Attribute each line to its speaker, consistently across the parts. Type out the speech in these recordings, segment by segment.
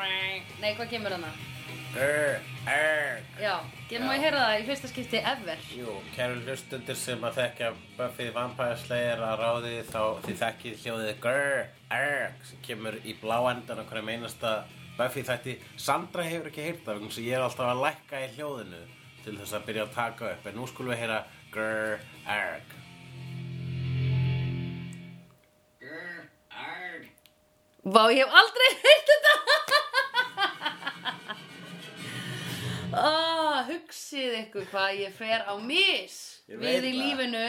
Speaker 1: Nei, hvað kemur þarna?
Speaker 2: Err, err
Speaker 1: Já, ég má
Speaker 2: Já.
Speaker 1: ég heyra það í fyrsta skipti ever
Speaker 2: Jú, kæru hlustundur sem að þekkja Buffy Vampire Slayer að ráði þá þið þekkið hljóðið grr, err sem kemur í bláendan okkur um einasta Buffy þætti Sandra hefur ekki heyrt það vegna þess að ég er alltaf að lækka í hljóðinu til þess að byrja að taka upp en nú skulum við heyra grr, err
Speaker 3: Grr, arg.
Speaker 1: Vá, ég hef aldrei heyrt þetta Ó, hugsið ykkur hvað ég fer á mis
Speaker 2: Ég veit
Speaker 1: við í
Speaker 2: það.
Speaker 1: lífinu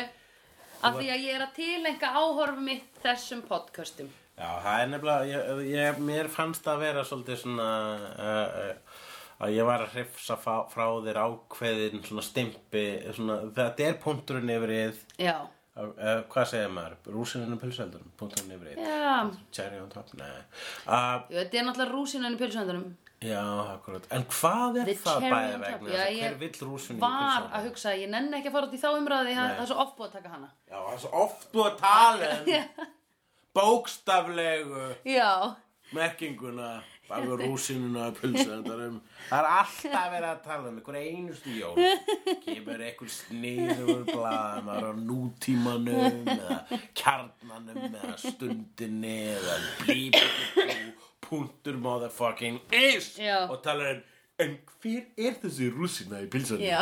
Speaker 1: af því að ég er að tilengja áhorf mitt þessum podcastum
Speaker 2: Já, það er nefnilega, ég, ég, mér fannst það að vera svolítið svona uh, uh, að ég var að hrifsa frá, frá þér ákveðin svona stimpi, svona, þetta er punkturinn yfir yfir
Speaker 1: Já,
Speaker 2: Uh, uh, hvað segir maður? Rúsinunum pulsöldurum, punktunum yfir eitt,
Speaker 1: já
Speaker 2: cherry on top, nei. Uh,
Speaker 1: Jú, Þetta er náttúrulega rúsinan í pylsöndunum
Speaker 2: já, akkurat. En hvað er
Speaker 1: The
Speaker 2: það
Speaker 1: cherry
Speaker 2: bæði
Speaker 1: on top,
Speaker 2: vegna?
Speaker 1: já,
Speaker 2: þess að Hver
Speaker 1: ég
Speaker 2: vill rúsinu í
Speaker 1: Var
Speaker 2: pulsöldunum?
Speaker 1: að hugsa, ég nenni ekki að fara út í þá umræði það
Speaker 2: Nei.
Speaker 1: það er svo oft búið að taka hana
Speaker 2: Já, það er svo oft búið að tala um bókstaflegu
Speaker 1: Já,
Speaker 2: merkinguna alveg rúsinuna og pulsöndarum það er alltaf verið að tala um einhver einustu jól kemur einhver sniður blaðanar á nútímanum eða kjarnanum eða stundinni eða blíbibibú punktur motherfucking is
Speaker 1: Já.
Speaker 2: og talar um En hver er þessi rússina í pilsanum?
Speaker 1: Já.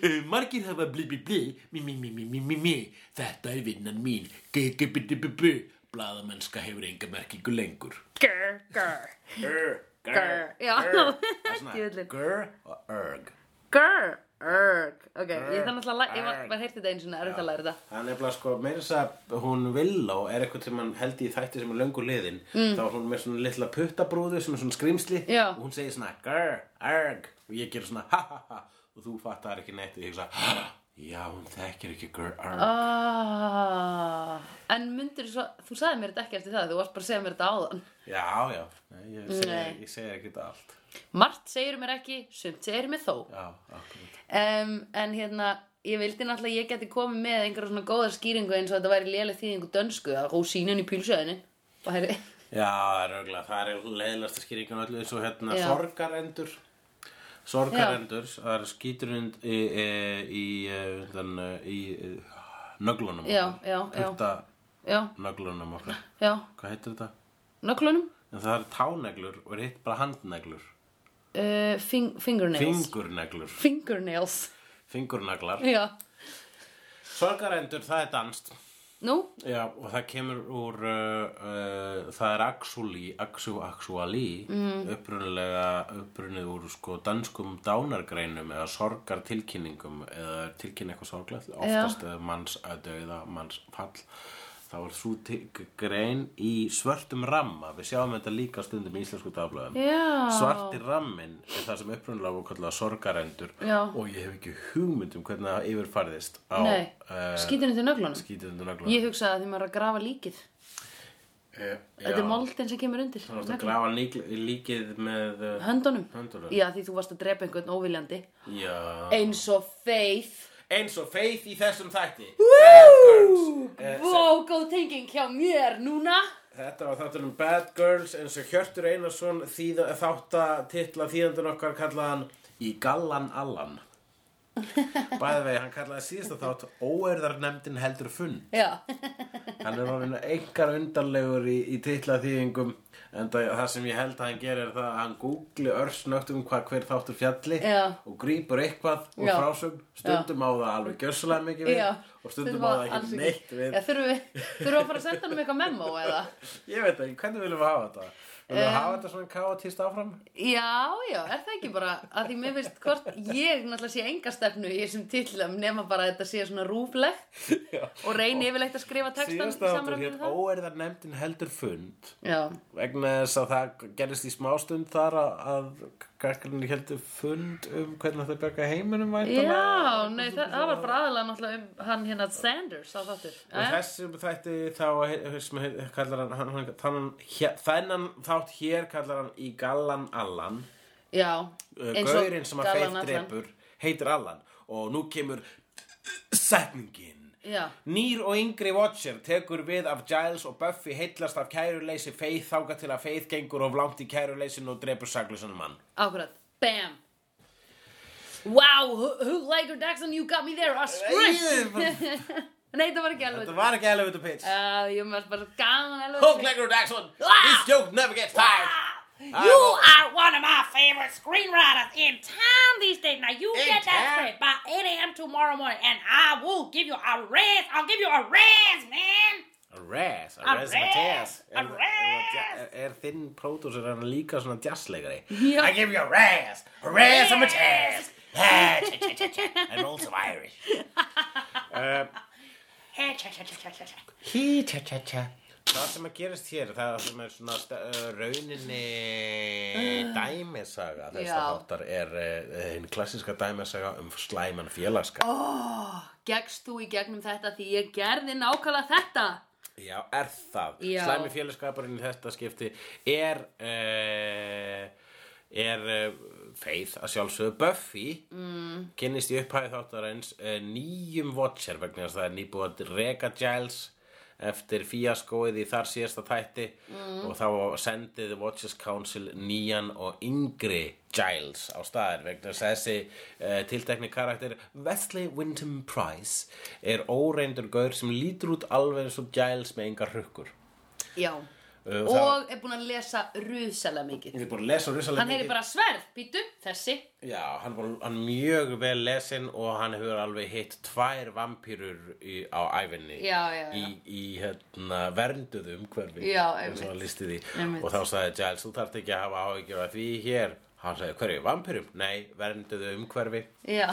Speaker 2: Uh, margir hafa bli bli bli, mi mi mi mi mi mi mi, þetta er vinnan mín, g g b d b b, blaðamennska hefur enga merkingu lengur.
Speaker 1: grr, grr
Speaker 2: Grr,
Speaker 1: Grr, já.
Speaker 2: grr. Það er svona
Speaker 1: Djöfullinn.
Speaker 2: Grr og örg
Speaker 1: Grr, örg Ok, ég þarf náttúrulega að læra, ég var
Speaker 2: örg.
Speaker 1: bara heyrti þetta einu sinni, er þetta að læra þetta
Speaker 2: Það er nefnilega sko, meira þess að hún Villó er eitthvað sem hann held í þætti sem er löngu liðin mm. þá er hún með svona litla puttabrúðu sem er svona skrimsli
Speaker 1: Já.
Speaker 2: og hún segir svona grr, örg og ég gerur svona ha ha ha og þú fattar ekki neitt og ég hugsa "Ha, já, hún þekkir ekki grr, örg
Speaker 1: Ah, en myndir svo, þú sagði mér þetta ekki eftir það, þú varst bara að segja mér þetta áðan.
Speaker 2: Já, já, Nei, ég
Speaker 1: Nei.
Speaker 2: segir seg ekki þetta allt
Speaker 1: Margt segir mér ekki, sumt segir mér þó.
Speaker 2: Já, akkurat
Speaker 1: Um, en hérna, ég vildi náttúrulega að ég geti komið með einhverja svona góðar skýringu eins og þetta væri léleg þýðingu dönsku að rósínun í pílsöðinu. Og hæri,
Speaker 2: Já, það er auðvitað, það er leiðilegasta skýringun öllu eins og hérna
Speaker 1: Já.
Speaker 2: sorgarendur sorgarendur, það er skýturund í, í, í, eh, þann, eh, í, í nöglunum
Speaker 1: Já, já, já. já,
Speaker 2: nöglunum okkar
Speaker 1: já,
Speaker 2: hvað heitir þetta?
Speaker 1: nöglunum,
Speaker 2: En það er táneglur og er hitt bara handneglur
Speaker 1: uh, fing fingernails.
Speaker 2: fingurneglur,
Speaker 1: fingernails,
Speaker 2: fingurnaglar
Speaker 1: já.
Speaker 2: sorgarendur, það er danst
Speaker 1: Nú,
Speaker 2: Já, og það kemur úr, uh, uh, það er axúli, axú, axúali,
Speaker 1: Mhm.
Speaker 2: mm. upprunulega, upprunnið úr sko danskum dánargreinum eða sorgartilkynningum eða tilkynna eitthvað sorglegt, oftast eða manns að dauða, manns fall. Það var svo grein í svörtum ramma, við sjáum þetta líka stundum í íslensku dagblöðum.
Speaker 1: já.
Speaker 2: Svarti rammin er það sem upprunulega voru kallað sorgarendur
Speaker 1: Já.
Speaker 2: og ég hef ekki hugmynd um hvernig það yfirfærðist á
Speaker 1: Nei,
Speaker 2: eh,
Speaker 1: skýturinn til nöglunum.
Speaker 2: skítundu nöglum.
Speaker 1: Ég hugsaði að því maður er að grafa líkið.
Speaker 2: Eh,
Speaker 1: Þetta
Speaker 2: já.
Speaker 1: er moldin sem kemur undir.
Speaker 2: Þú varst að grafa lík, líkið með uh,
Speaker 1: Höndunum?
Speaker 2: höndunum.
Speaker 1: Já, því þú varst að drepa einhvern óviljandi.
Speaker 2: Já.
Speaker 1: Eins og Faith.
Speaker 2: Eins og feið í þessum þætti. Bad Girls.
Speaker 1: Woo!
Speaker 2: Eh,
Speaker 1: Vó, góð tenging hjá mér núna.
Speaker 2: Þetta var þáttur um Bad Girls eins og Hjörtur Einarsson þýða, þáttatitla þýðandun okkar kallaðan Í Gallan Allan. Bæði vegi, hann kallaði síðasta þátt Óerðarnemdin heldur funn.
Speaker 1: Já,
Speaker 2: Hann er orðin einhver undarlegur í, í titla þýðingum en það, það sem ég held að hann gerir er það að hann googli örsnögt um hvað hver þáttur fjalli
Speaker 1: Já.
Speaker 2: og grýpur eitthvað og
Speaker 1: Já.
Speaker 2: frásum stundum á það alveg gjössalega mikið við
Speaker 1: já.
Speaker 2: og stundum á það
Speaker 1: alls
Speaker 2: ekki neitt við
Speaker 1: Já, þurfum við, þurfum við að fara að senda hann um eitthvað memo eða?
Speaker 2: Ég veit ekki, hvernig viljum við hafa þetta? Viljum
Speaker 1: Um,
Speaker 2: við hafa þetta svona káatist áfram?
Speaker 1: Já, já, er það ekki bara að því mér veist hvort ég náttúrulega sé enga stefnu í þessum tillum nema bara að þetta sé svona rúflegt
Speaker 2: Já.
Speaker 1: og reyni yfirlegt að skrifa textan í
Speaker 2: Síðasta þáttur
Speaker 1: samræmi
Speaker 2: hér
Speaker 1: við það.
Speaker 2: óerðarnemdin heldur fund
Speaker 1: Já,
Speaker 2: vegna þess að það gerist í smástund þar að, að krakkarnir heldur fund um hvernig það bjarga heiminum væntanlega.
Speaker 1: já, nei, það, það var bara aðalega náttúrulega um hann hérna Sanders á þáttur. Eh?
Speaker 2: Og þessum þætti þá he- he- sem he- kallar hann, hann, hann þannan, hér, þennan þátt hér kallar hann í Gallan Allan
Speaker 1: Já,
Speaker 2: uh,
Speaker 1: eins og
Speaker 2: Gaurinn sem að
Speaker 1: galan
Speaker 2: feitt
Speaker 1: allan.
Speaker 2: drefur heitir Allan og nú kemur setningin
Speaker 1: Já.
Speaker 2: Nýr og yngri Watcher tekur við af Giles og Buffy heitlast af kæruleysi Faith þáka til að Faith gengur of langt í kæruleysinu og drepur saklausan mann.
Speaker 1: Akkurat, bam Wow, who, who like her Daxon, you got me there, a
Speaker 2: Ég er
Speaker 1: squish
Speaker 2: bara-
Speaker 1: Nei, það var ekki alveg
Speaker 2: Þetta var ekki elefant og pitch.
Speaker 1: Uh, ég maður bara gaman alveg
Speaker 2: Hook Legger Jackson,
Speaker 1: Ah!
Speaker 2: this joke never gets tired.
Speaker 4: You are one of my favorite screenwriters in town these days. Now you
Speaker 2: In
Speaker 4: get that
Speaker 2: town?
Speaker 4: script by 8 a.m. tomorrow morning, and I will give you a raise. I'll give you a raise, man.
Speaker 2: Arrest, arrest
Speaker 4: Arrest,
Speaker 2: Mateus. Er,
Speaker 4: arrest.
Speaker 2: er þinn pródúsur hann líka svona jazzleikari?
Speaker 1: Já.
Speaker 2: I give you arrest, arrest
Speaker 4: Yes.
Speaker 2: Mateus. And also Irish. uh,
Speaker 4: Hey, cha, cha, cha, cha, cha, cha.
Speaker 2: Hí, tja, tja, tja. Það sem að gerast hér, það sem er svona st- uh, rauninni dæmisaga þess
Speaker 1: Ah.
Speaker 2: að
Speaker 1: Já.
Speaker 2: þáttar er uh, hinn klassiska dæmisaga um slæman félagskap. Oh.
Speaker 1: Gekkst þú í gegnum þetta því ég gerði nákvæmlega þetta
Speaker 2: Já, er það.
Speaker 1: Já.
Speaker 2: Slæmi félagskapurinn í þetta skipti er, uh, er uh, feið að sjálfsögðu Buffy mm. kynnist í upphæði þáttarins uh, nýjum Watcher vegna þess að það er nýbúið að reka Giles eftir fíaskóið í þar síðasta tætti
Speaker 1: Mm.
Speaker 2: og þá sendið Watchers Council nýjan og yngri Giles á staðar vegna þess að þessi uh, tiltekni karakter Wesley Wyndham Price er óreindur gaur sem lítur út alveg eins og Giles með engar hrukkur
Speaker 1: Já
Speaker 2: Uh,
Speaker 1: Og
Speaker 2: það-
Speaker 1: er búinn að lesa rusalega mikið
Speaker 2: Ég er búin að lesa rosalega
Speaker 1: Hann heyri bara sverð, býtu, þessi
Speaker 2: Já, hann var hann er mjög vel lesinn og hann hefur alveg hitt tvær vampýrur í, á æfinni
Speaker 1: Já, já, já.
Speaker 2: í, í hérna, vernduðu umhverfi
Speaker 1: Já,
Speaker 2: eins
Speaker 1: einmitt.
Speaker 2: og hann listi því
Speaker 1: Einmitt.
Speaker 2: og þá sagði Giles, þú þarft ekki að hafa áhyggjur af því hér hann sagði, hverju, vampýrum? Nei, vernduðu umhverfi
Speaker 1: Já,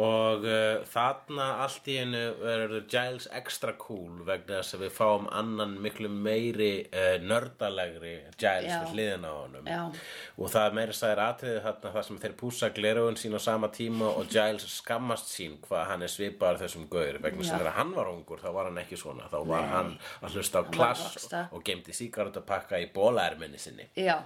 Speaker 2: og uh, þarna allt í hennu verður Giles extra cool vegna þess að við fáum annan miklu meiri uh, nördalegri Giles
Speaker 1: Já.
Speaker 2: við hliðin á honum
Speaker 1: Já.
Speaker 2: og það er meira sæðir atriði þarna þar sem þeir púsa glerugun sín á sama tíma og Giles skammast sín hvað hann er svipaður þessum gaur vegna þess
Speaker 1: Já.
Speaker 2: að þegar hann var ungur þá var hann ekki svona þá var hann að hlusta á klass
Speaker 1: rockstar.
Speaker 2: og gemdi sígaretapakka í bólaerminni sinni
Speaker 1: já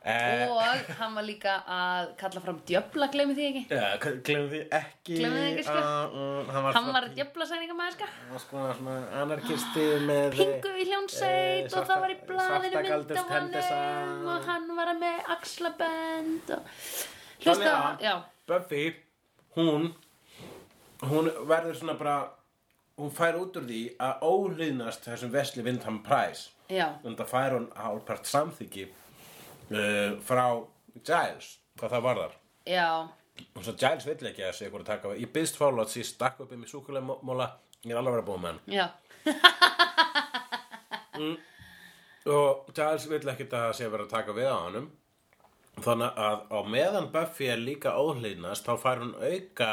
Speaker 2: Eh,
Speaker 1: Og hann var líka að kalla fram djöfla, gleymi því ekki
Speaker 2: Já, glemum því ekki
Speaker 1: Gleymum því ekki, sko.
Speaker 2: að, um, hann var,
Speaker 1: Hann
Speaker 2: svona-
Speaker 1: var djöflasæningamæðska
Speaker 2: og sko svona anarkisti með
Speaker 1: Pingu í hljónsveit
Speaker 2: eh,
Speaker 1: og það var í
Speaker 2: svarta-
Speaker 1: blaðinu
Speaker 2: svartagaldist Henderson.
Speaker 1: myndavanum og hann var með axlabend og hlusta,
Speaker 2: Þannig að
Speaker 1: já,
Speaker 2: Buffy, hún hún verður svona bara hún fær út úr því að óhlýðnast þessum Vesli Vindham Price
Speaker 1: já,
Speaker 2: en það fær hún álpart samþyggi uh, frá Giles hvað það varðar
Speaker 1: já,
Speaker 2: og svo Giles vill ekki að segja hvað að taka ég byggst fálátt síst, stakk upp um í súkulegmóla ég er alveg að vera búið með hann
Speaker 1: já,
Speaker 2: og Giles vill ekkert að það sé verið að taka við á honum þannig að á meðan Buffy er líka óhlýðnast þá fær hún auka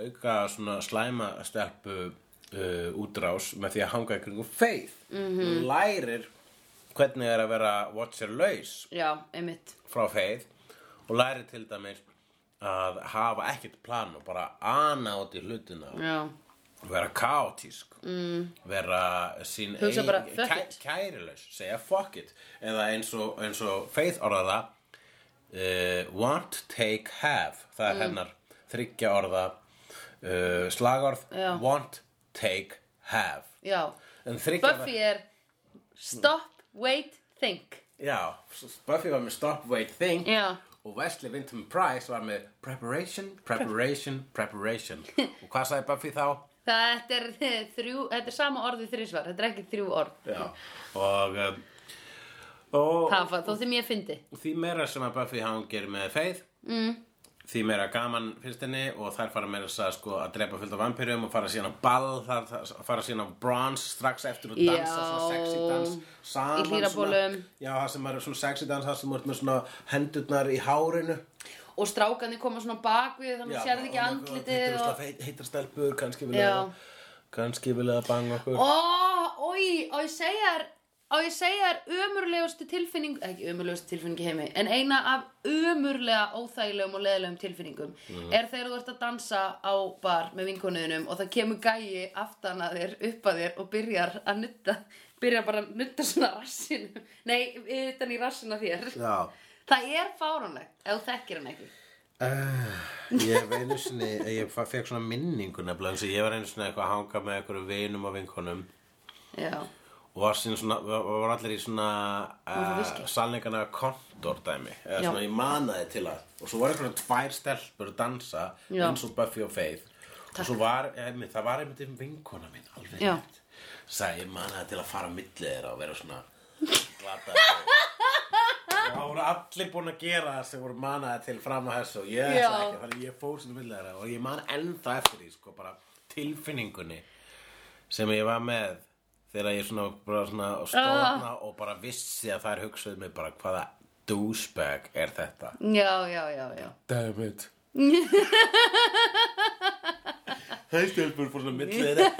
Speaker 2: auka svona slæma stelpu uh, útrás með því að hanga í kringum Faith -hmm. hún lærir hvernig er að vera Watcher laus
Speaker 1: já, einmitt,
Speaker 2: frá Faith og lærir til dæmis að hafa ekkert plan og bara ana út í hlutina
Speaker 1: já,
Speaker 2: vera kaotísk mm. vera sín
Speaker 1: Hugsa bara, fuck
Speaker 2: kæ,
Speaker 1: it.
Speaker 2: kærilaus, segja fuck it eða eins og, eins og Faith orðaða uh, want, take, have
Speaker 1: Mm.
Speaker 2: það er hennar þryggja orða uh, slagorð
Speaker 1: Já.
Speaker 2: want, take, have
Speaker 1: já,
Speaker 2: en þryggja
Speaker 1: Buffy er stop, wait, think,
Speaker 2: Já, Buffy var með Stop, Wait, Think
Speaker 1: Já.
Speaker 2: og Wesley Vinton Price var með Preparation, Preparation, Preparation og hvað sagði Buffy þá?
Speaker 1: þetta er þrjú, þetta er sama orðið þrísvar, þetta er ekki þrjú orð,
Speaker 2: Já, og um, og
Speaker 1: hafa, þó þeim ég fyndi,
Speaker 2: því meira sem að Buffy hangir með Faith mm. því meira gaman finnst henni og þær fara meira að, sko, að drepa fullt af vampýrum og fara síðan á ball þar, þar fara síðan á bronze strax eftir og dansa
Speaker 1: Já.
Speaker 2: svona sexy dans saman,
Speaker 1: Í hlýrabólum.
Speaker 2: svona- Já, það sem er svona sexy dans það sem er með svona hendurnar í hárinu
Speaker 1: og strákanir koma svona bak við þannig að sérðu ekki andlitið og...
Speaker 2: Heitar stelpur, kannski
Speaker 1: Já.
Speaker 2: vilja kannski vilja að banga okkur
Speaker 1: Ó, oi, á ég segja þér á ég segja þér ömurlegustu tilfinning ekki ömurlegustu tilfinning í heimi en eina af ömurlega óþægilegum og leðilegum tilfinningum er þegar þú ert að dansa á bar með vinkonuðinum og það kemur gæi aftan að þér upp að þér og byrjar að nutta byrjar bara að nutta svona rassinu nei, utan í rassinu á þér
Speaker 2: Já,
Speaker 1: það er fáránlegt ef þú þekkir hann ekki
Speaker 2: Eh, Ég hef einu sinni, ég fa- fekk svona minningu nefnilega eins og ég var einu sinni eitthvað að hanga með einhverjum vinum og vinkonum
Speaker 1: Já,
Speaker 2: og var, síðan svona, var var allir í svona
Speaker 1: það
Speaker 2: uh,
Speaker 1: viski?
Speaker 2: sannleikana kontor dæmi eða
Speaker 1: Já.
Speaker 2: svona ég manaði til að og svo var einhverjum tvær stelpur að dansa
Speaker 1: Já.
Speaker 2: eins og Buffy og Faith og svo var, einmitt, það var einmitt um vinkona mín alveg
Speaker 1: Já.
Speaker 2: rétt. sagði ég manaði til að fara á milli þeirra og vera svona glata og það voru allir búin að gera það sem voru manaði til fram á þessu og ég
Speaker 1: Já.
Speaker 2: ætla ekki þannig að ég fór sinni milli þeirra og ég man ennþá eftir því sko bara tilfinningunni sem ég var með þegar ég svona, bara svona stóðna og bara vissi að þær hugsaði mig bara hvaða douchebag er þetta
Speaker 1: já, já, já, já.
Speaker 2: damn it það stelpur fór svona millið þeirra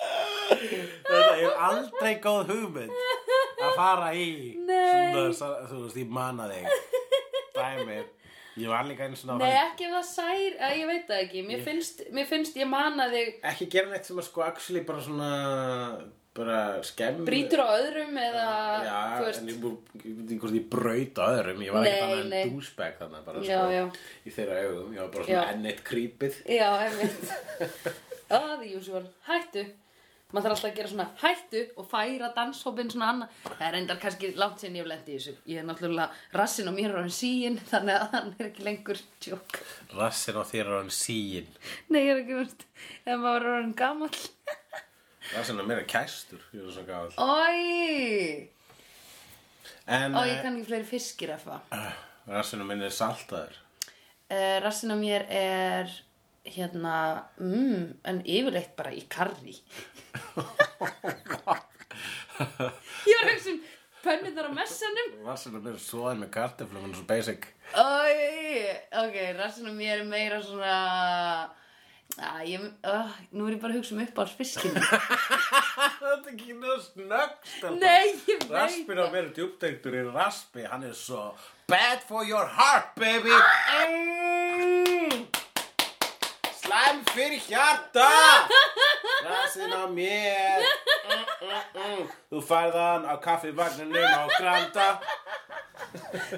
Speaker 2: þetta er aldrei góð hugmynd að fara í svona, sa- þú veist, ég mana þig damn it ég var líka einu svona á
Speaker 1: Nei,
Speaker 2: þannig-
Speaker 1: ekki ef það sær, að ég veit það ekki. Mér finnst, mér finnst ég mana þig
Speaker 2: ekki gera neitt sem að sko actually bara svona bara skemmur
Speaker 1: brýtur á öðrum eða,
Speaker 2: já,
Speaker 1: þú
Speaker 2: en
Speaker 1: veist,
Speaker 2: ég bú- ég veit ekki hvort ég braut á öðrum ég var
Speaker 1: Nei,
Speaker 2: ekki þannig
Speaker 1: nei.
Speaker 2: en douchebag þannig bara
Speaker 1: Já,
Speaker 2: sko
Speaker 1: já.
Speaker 2: í þeirra augum, ég var bara
Speaker 1: Já.
Speaker 2: svona enn eitt krýpið
Speaker 1: já, einmitt. Oh, the usual. Hættu. Maður þarf alltaf að gera svona hættu og færa danshópin svona annað. Það er endar kannski langt sinn ég hef lendi í þessu. Ég er náttúrulega rassinn og mér er hann síinn, þannig að hann er ekki lengur tjók.
Speaker 2: rassin á þér er hann síin
Speaker 1: Nei, ég er ekki veist, ef maður er hann gamall.
Speaker 2: rassin á mér er kæstur, ég er svo gáð
Speaker 1: Ói!
Speaker 2: en
Speaker 1: Ó, ég kann ekki fleiri fiskir efa.
Speaker 2: eh, rassin á minni er saltaður
Speaker 1: Uh, rassin á mér er hérna, mm, en yfirleitt bara í karri. ég var að hugsa um pönnunar á messanum.
Speaker 2: rassin á mér er svoðið með kartiflum hann er svo basic
Speaker 1: Ói, ok, rassin á mér er meira svona, að ég, uh, nú er ég bara að hugsa um uppáhalds fiskinu.
Speaker 2: þetta er ekki nöð snöggst
Speaker 1: Nei, ég veit
Speaker 2: Raspin á
Speaker 1: það.
Speaker 2: mér er djúpteiktur í raspi Hann er svo Bad for your heart, baby mm. Slæm fyrir hjarta Rassin á mér mm, mm, mm. Þú færði hann á kaffivagninum á Granda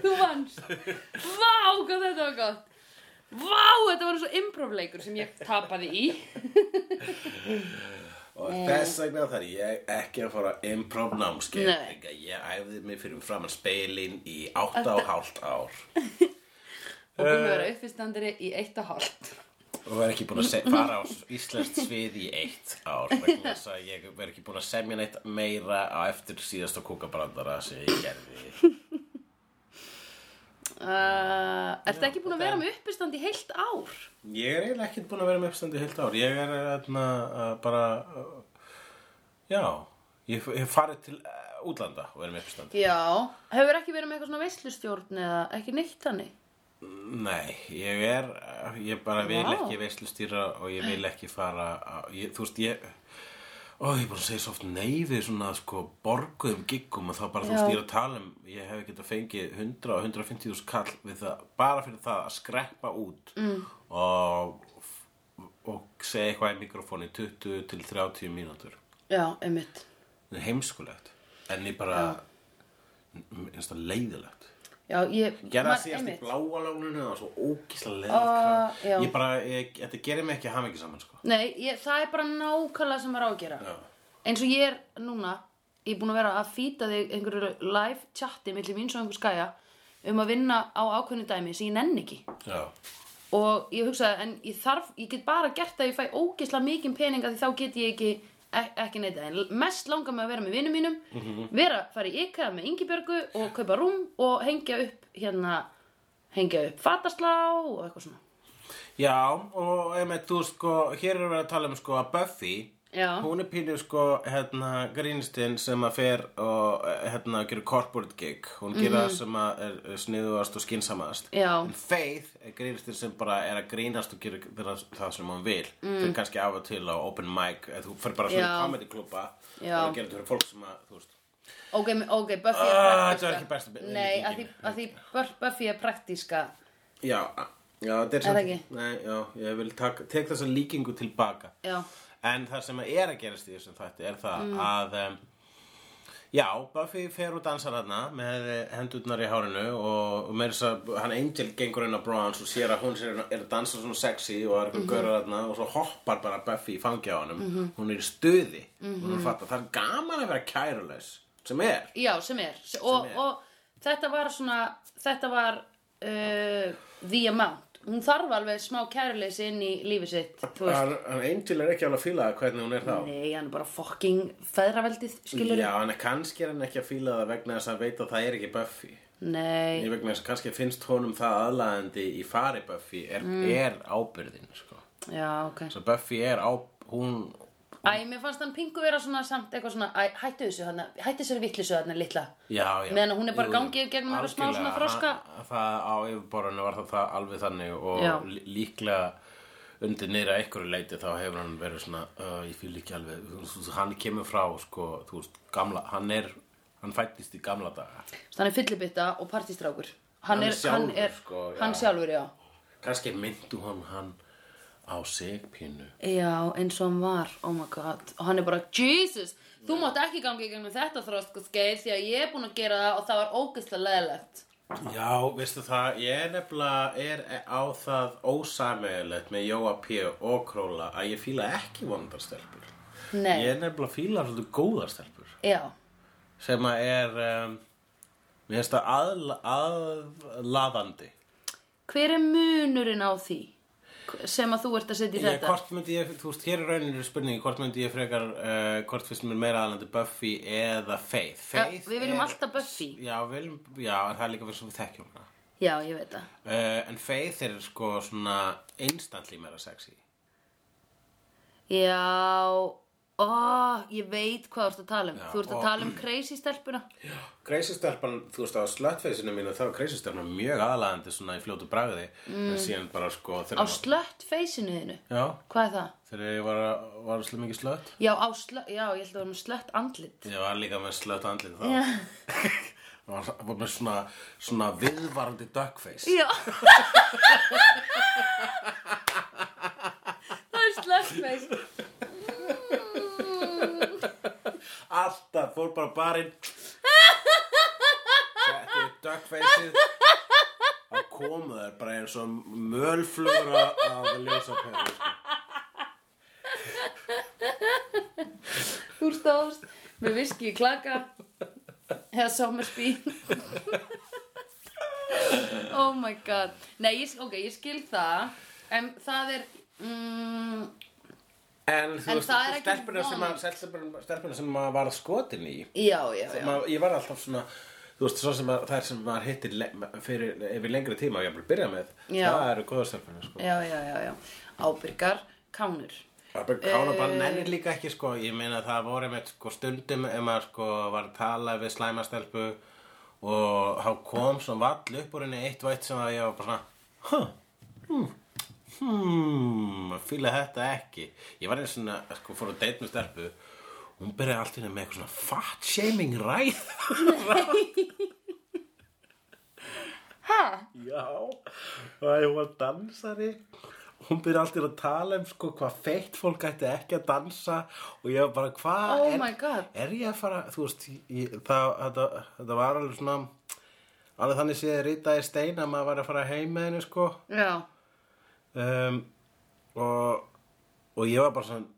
Speaker 1: Þú vannst. Vá, hvað þetta var gott. Vá, þetta var svo improvleikur sem ég tapaði í.
Speaker 2: Og
Speaker 1: Mm.
Speaker 2: þess vegna þarf ég ekki að fara á improv námskeið
Speaker 1: Nei.
Speaker 2: Þegar Ég æfði mig fyrir framan speilin í átta og hálft ár
Speaker 1: Og búin að vera uppistandari í eitt og hálft.
Speaker 2: og verð ekki búin að se- fara á íslenskt svið í eitt ár vegna þess að ég verð ekki búin að semja neitt meira á eftir síðasta kúkabrandara sem ég gerði
Speaker 1: Uh, ertu ekki búin að vera með uppistand í heilt ár?
Speaker 2: ég er eiginlega ekkert búin að vera með uppstandi í heilt ár ég er þarna uh, bara uh, já ég hef farið til uh, útlanda og verið með uppstandi
Speaker 1: Já. Hefur ekki verið með eitthvað svona veislustjórn eða ekki neitt hannig?
Speaker 2: nei, ég er uh, ég bara vil
Speaker 1: Vá.
Speaker 2: ekki veislustýra og ég vil ekki fara á, ég, þú veist ég Ó, ég er búin að segja svo oft nei við svona sko borguðum giggum og þá bara þú
Speaker 1: Já.
Speaker 2: veist ég er að tala um ég hef getað fengið 100 og 150 þús kall við það bara fyrir það að skreppa út mm. og, og segja eitthvað í mikrofóni 20 til 30 mínútur
Speaker 1: Já, einmitt.
Speaker 2: það er heimskulegt en ég bara minnst það leiðilegt
Speaker 1: Já, ég...
Speaker 2: gerða
Speaker 1: man-
Speaker 2: síðast í
Speaker 1: einmitt.
Speaker 2: bláa lóninu það var svo ógíslega
Speaker 1: Ah,
Speaker 2: leiðilegt
Speaker 1: já.
Speaker 2: uh, ég bara, ég, þetta gerir mig ekki hamingi saman sko
Speaker 1: Nei, ég, það er bara nákvæmlega sem maður á að gera.
Speaker 2: Já.
Speaker 1: Eins og ég er núna, ég er búin að vera að fýta þig einhverju live chati milli mín og einhver skæja um að vinna á ákveðnu dæmi sem ég nenni ekki.
Speaker 2: já,
Speaker 1: og ég hugsaði en ég þarf, ég get bara gert það ef ég fæ ógisla mikinn peninga því þá get ég ekki ek- ekki neitt en mest langar mig að vera með vinnum mínum
Speaker 2: Mhm.
Speaker 1: vera, fara í IKEA með Ingibjörgu og kaupa rúm og hengja upp hérna, hengja upp fataslá og eitthvað svona
Speaker 2: Já, og einmitt, þú sko, hér erum við að tala um sko að Buffy
Speaker 1: Já.
Speaker 2: Hún er pínu sko, hérna, grínstinn sem að fer og eh, hérna, gerir corporate gig Hún gerir það sem að er er sniðugast og skynsamast
Speaker 1: Mhm. Já.
Speaker 2: En Faith er grínstinn sem bara er að grínast og gerir það- það sem hún vil mm. Fyrir kannski af og til á open mic, eh, þú fyrir bara svona
Speaker 1: Já.
Speaker 2: comedy klubba
Speaker 1: Já.
Speaker 2: Og gerir þetta fyrir fólk sem að, þú veist
Speaker 1: ok, me- ok, Buffy
Speaker 2: Ah,
Speaker 1: er
Speaker 2: þetta var ekki
Speaker 1: praktíska
Speaker 2: besta bit-
Speaker 1: nei,
Speaker 2: líkingin.
Speaker 1: að því, að því Bur- Buffy er praktíska
Speaker 2: Já, já, þetta er
Speaker 1: það
Speaker 2: samt-
Speaker 1: ekki?
Speaker 2: Nei, já, ég vil taka, tek þessa líkingu tilbaka
Speaker 1: já, Mm.
Speaker 2: En það sem er að gerast í þessum þætti er það að um, Já, Buffy fer og dansar hana með eh, hendurnar í hárinu og og meira þess að hann Angel gengur inn á Bronze og sér að hún sér, er að dansa svona sexy og er
Speaker 1: Mhm.
Speaker 2: eitthvað görður hana og svo hoppar bara Buffy í fangi á honum. Hún er í stuði. Hún
Speaker 1: Mhm.
Speaker 2: er að fatta, það er gaman að vera kærulegs sem er.
Speaker 1: Já, sem er. Og,
Speaker 2: er.
Speaker 1: og þetta var svona, þetta var uh, the amount. Hún þarf alveg smá kæruleysi inn í lífi sitt, þú veist.
Speaker 2: Hann, hann Angel er ekki alveg að fíla það hvernig hún er þá.
Speaker 1: Nei, hann er bara fucking feðraveldið, skilur
Speaker 2: Já, en kannski er hann ekki að fíla það vegna þess að hann veit að það er ekki Buffy.
Speaker 1: Nei,
Speaker 2: Ég vegna þess að kannski finnst honum það aðlaðandi í fari Buffy er,
Speaker 1: Mm.
Speaker 2: er ábyrðin, sko.
Speaker 1: já, ok.
Speaker 2: Svo Buffy er á, hún,
Speaker 1: Æ, mér fannst hann pingu vera svona samt eitthvað svona, æ, hættu þessu hann, hættu þessu vitlisu hann litla.
Speaker 2: já, já.
Speaker 1: Meðan hún er bara
Speaker 2: Jú,
Speaker 1: gangið gegnum eitthvað smá svona
Speaker 2: algjörlega.
Speaker 1: þroska.
Speaker 2: Hann- Það á yfirborðinu var það, það alveg þannig og
Speaker 1: Já.
Speaker 2: lí- líklega undir niðra einhverju leiti þá hefur hann verið svona, uh, ég fíl ekki alveg, þú veist, hann kemur frá, sko, þú veist, gamla, hann er, hann fættist í gamla daga.
Speaker 1: Þannig hann er fyllibitta og partistrákur. Hann,
Speaker 2: Hann
Speaker 1: er,
Speaker 2: sjálfur,
Speaker 1: hann er,
Speaker 2: sko, já.
Speaker 1: hann sjálfur, já.
Speaker 2: Kannski myndu hann hann á sig pínu.
Speaker 1: Já, eins og hann var, oh my god Og hann er bara, Jesus, þú mátt ekki gangi gegnum þetta þrósku skeið Því að ég er búin að gera það og það var ógeðslega leðilegt
Speaker 2: Já, veistu það, ég er nefnilega er á það ósamegilegt með Jóa P. og Króla að ég fíla ekki vondar stelpur.
Speaker 1: Nei,
Speaker 2: Ég er nefnilega fíla svolítið góðar stelpur
Speaker 1: já,
Speaker 2: sem að er, um, mér finnst það aðla, aðlaðandi.
Speaker 1: hver er munurinn á því sem að þú ert að setja í
Speaker 2: Ég,
Speaker 1: þetta?
Speaker 2: hvort myndi ég, þú veist, hér er rauninni spurningi, hvort myndi ég frekar, uh, hvort finnst mér meira aðlandi Buffy eða Faith.
Speaker 1: Ja,
Speaker 2: Faith
Speaker 1: við viljum
Speaker 2: er-
Speaker 1: alltaf Buffy
Speaker 2: Já, við viljum, já, en það er líka fyrir sem við þekkjum hana.
Speaker 1: Já, ég veit það
Speaker 2: Uh, en Faith er sko svona instantly meira sexy.
Speaker 1: Já, ó, ég veit hvað þú ert að tala um
Speaker 2: Já,
Speaker 1: Þú ert
Speaker 2: og-
Speaker 1: að tala um crazy stelpuna
Speaker 2: Kreisistelpan, þú veist, á slöttfeysinu mínu þá er kreisistelpan mjög aðlaðandi svona í fljótu bragði en síðan bara sko
Speaker 1: Mm. Á
Speaker 2: þegar ég
Speaker 1: slött feysinu þínu
Speaker 2: var- Já,
Speaker 1: Hvað er það?
Speaker 2: þegar ég var, var slið mikið slött
Speaker 1: Já, á slött, já, ég held að það var með slött andlit
Speaker 2: Ég var líka með slött andlið þá
Speaker 1: Já,
Speaker 2: var, var með svona, svona viðvarandi duckface
Speaker 1: já Það er slött feys
Speaker 2: Alltaf, fór bara á barinn Setti upp duckfaceið Það komu þær bara eins og mölflugur á- á ljósa perur
Speaker 1: Þú stóðst með viski í klaka eða Somersby Oh my god Nei, ég, ok, ég skil það en það er mm,
Speaker 2: En þú
Speaker 1: En
Speaker 2: veist,
Speaker 1: það er ekki
Speaker 2: stelpuna sem, að,
Speaker 1: vond.
Speaker 2: stelpuna- stelpuna sem maður var skotin í
Speaker 1: Já, já, já
Speaker 2: Ma, ég var alltaf svona þú veist, svo sem að, það er sem maður hittir le, fyrir, yfir lengri tíma og ég vil byrja með
Speaker 1: Já. Eh,
Speaker 2: það eru góða stelpunir sko.
Speaker 1: Já, já, já, já Ábyrgar, kánur
Speaker 2: Það er bara kána
Speaker 1: eh,
Speaker 2: bara nennir líka ekki sko. ég meina það voru með sko, stundum ef maður sko, var að tala við slæmastelpu og þá kom svona vall upp úr henni eitt og eitt sem að ég var bara svona huh, hmm, hmm fýla þetta ekki ég var eins svona, sko, fór að deit með stelpu og hún byrjaði allt í henni með eitthvað svona fat shaming ræð
Speaker 1: Ha?
Speaker 2: Já, það er hún var dansari Hún byrja alltaf að tala um sko hvað feitt fólk ætti ekki að dansa og ég var bara hvað
Speaker 1: Oh
Speaker 2: er,
Speaker 1: my God.
Speaker 2: er ég að fara, þú veist, ég, það, þetta, þetta var alveg svona, alveg þannig séð rýta í stein að maður var að fara heim með henni sko
Speaker 1: Já
Speaker 2: um, og, og ég var bara svona,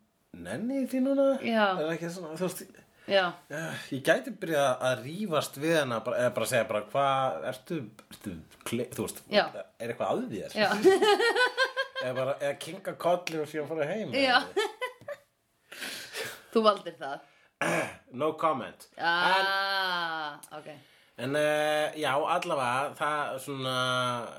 Speaker 2: nenni ég því núna,
Speaker 1: Já.
Speaker 2: er ekki svona, þú veist,
Speaker 1: Já,
Speaker 2: Eh, Ég gæti byrjað að rífast við hana bara, eða bara segja bara hvað ertu, ertu kli, þú veist,
Speaker 1: Já.
Speaker 2: er eitthvað að þér?
Speaker 1: já,
Speaker 2: Eða bara eða kinga kolli og síðan fara heim?
Speaker 1: já Þú valdir það
Speaker 2: No comment.
Speaker 1: Ah, ok
Speaker 2: En uh, já, allavega, það, svona,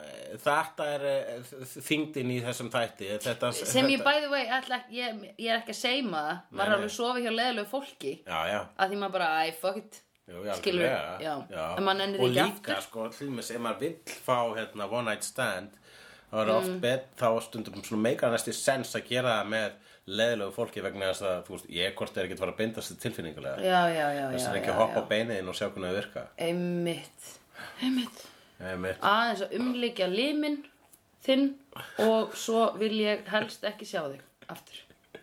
Speaker 2: eh, þetta er uh, þingdin í þessum þætti. Þetta,
Speaker 1: Sem ég
Speaker 2: þetta-
Speaker 1: by the way, ætla, ekki- ég, ég er ekki að seima það Maður
Speaker 2: Nei,
Speaker 1: er alveg
Speaker 2: nei.
Speaker 1: sofið hjá leðilegu fólki
Speaker 2: Já, já.
Speaker 1: að því maður bara, æ, fuck it
Speaker 2: Jú, já,
Speaker 1: Skilur við,
Speaker 2: algjörlega.
Speaker 1: já. En maður nennir
Speaker 2: og
Speaker 1: ekki
Speaker 2: líka sko, til dæmis, ef maður vill fá hérna, one night stand þá er
Speaker 1: Mm.
Speaker 2: oft bet, þá stundum svona meikar næsti sens að gera það með leðilegu fólki vegna þess að, þú veist, ég hvort er ekki að fara að binda sér tilfinningulega
Speaker 1: Já, já, já, já,
Speaker 2: þess að
Speaker 1: já,
Speaker 2: ekki að hoppa á beinið inn og sjá hvernig það virka
Speaker 1: Einmitt Einmitt
Speaker 2: Einmitt.
Speaker 1: Aðeins að umlíkja limin þinn og svo vil ég helst ekki sjá þig aftur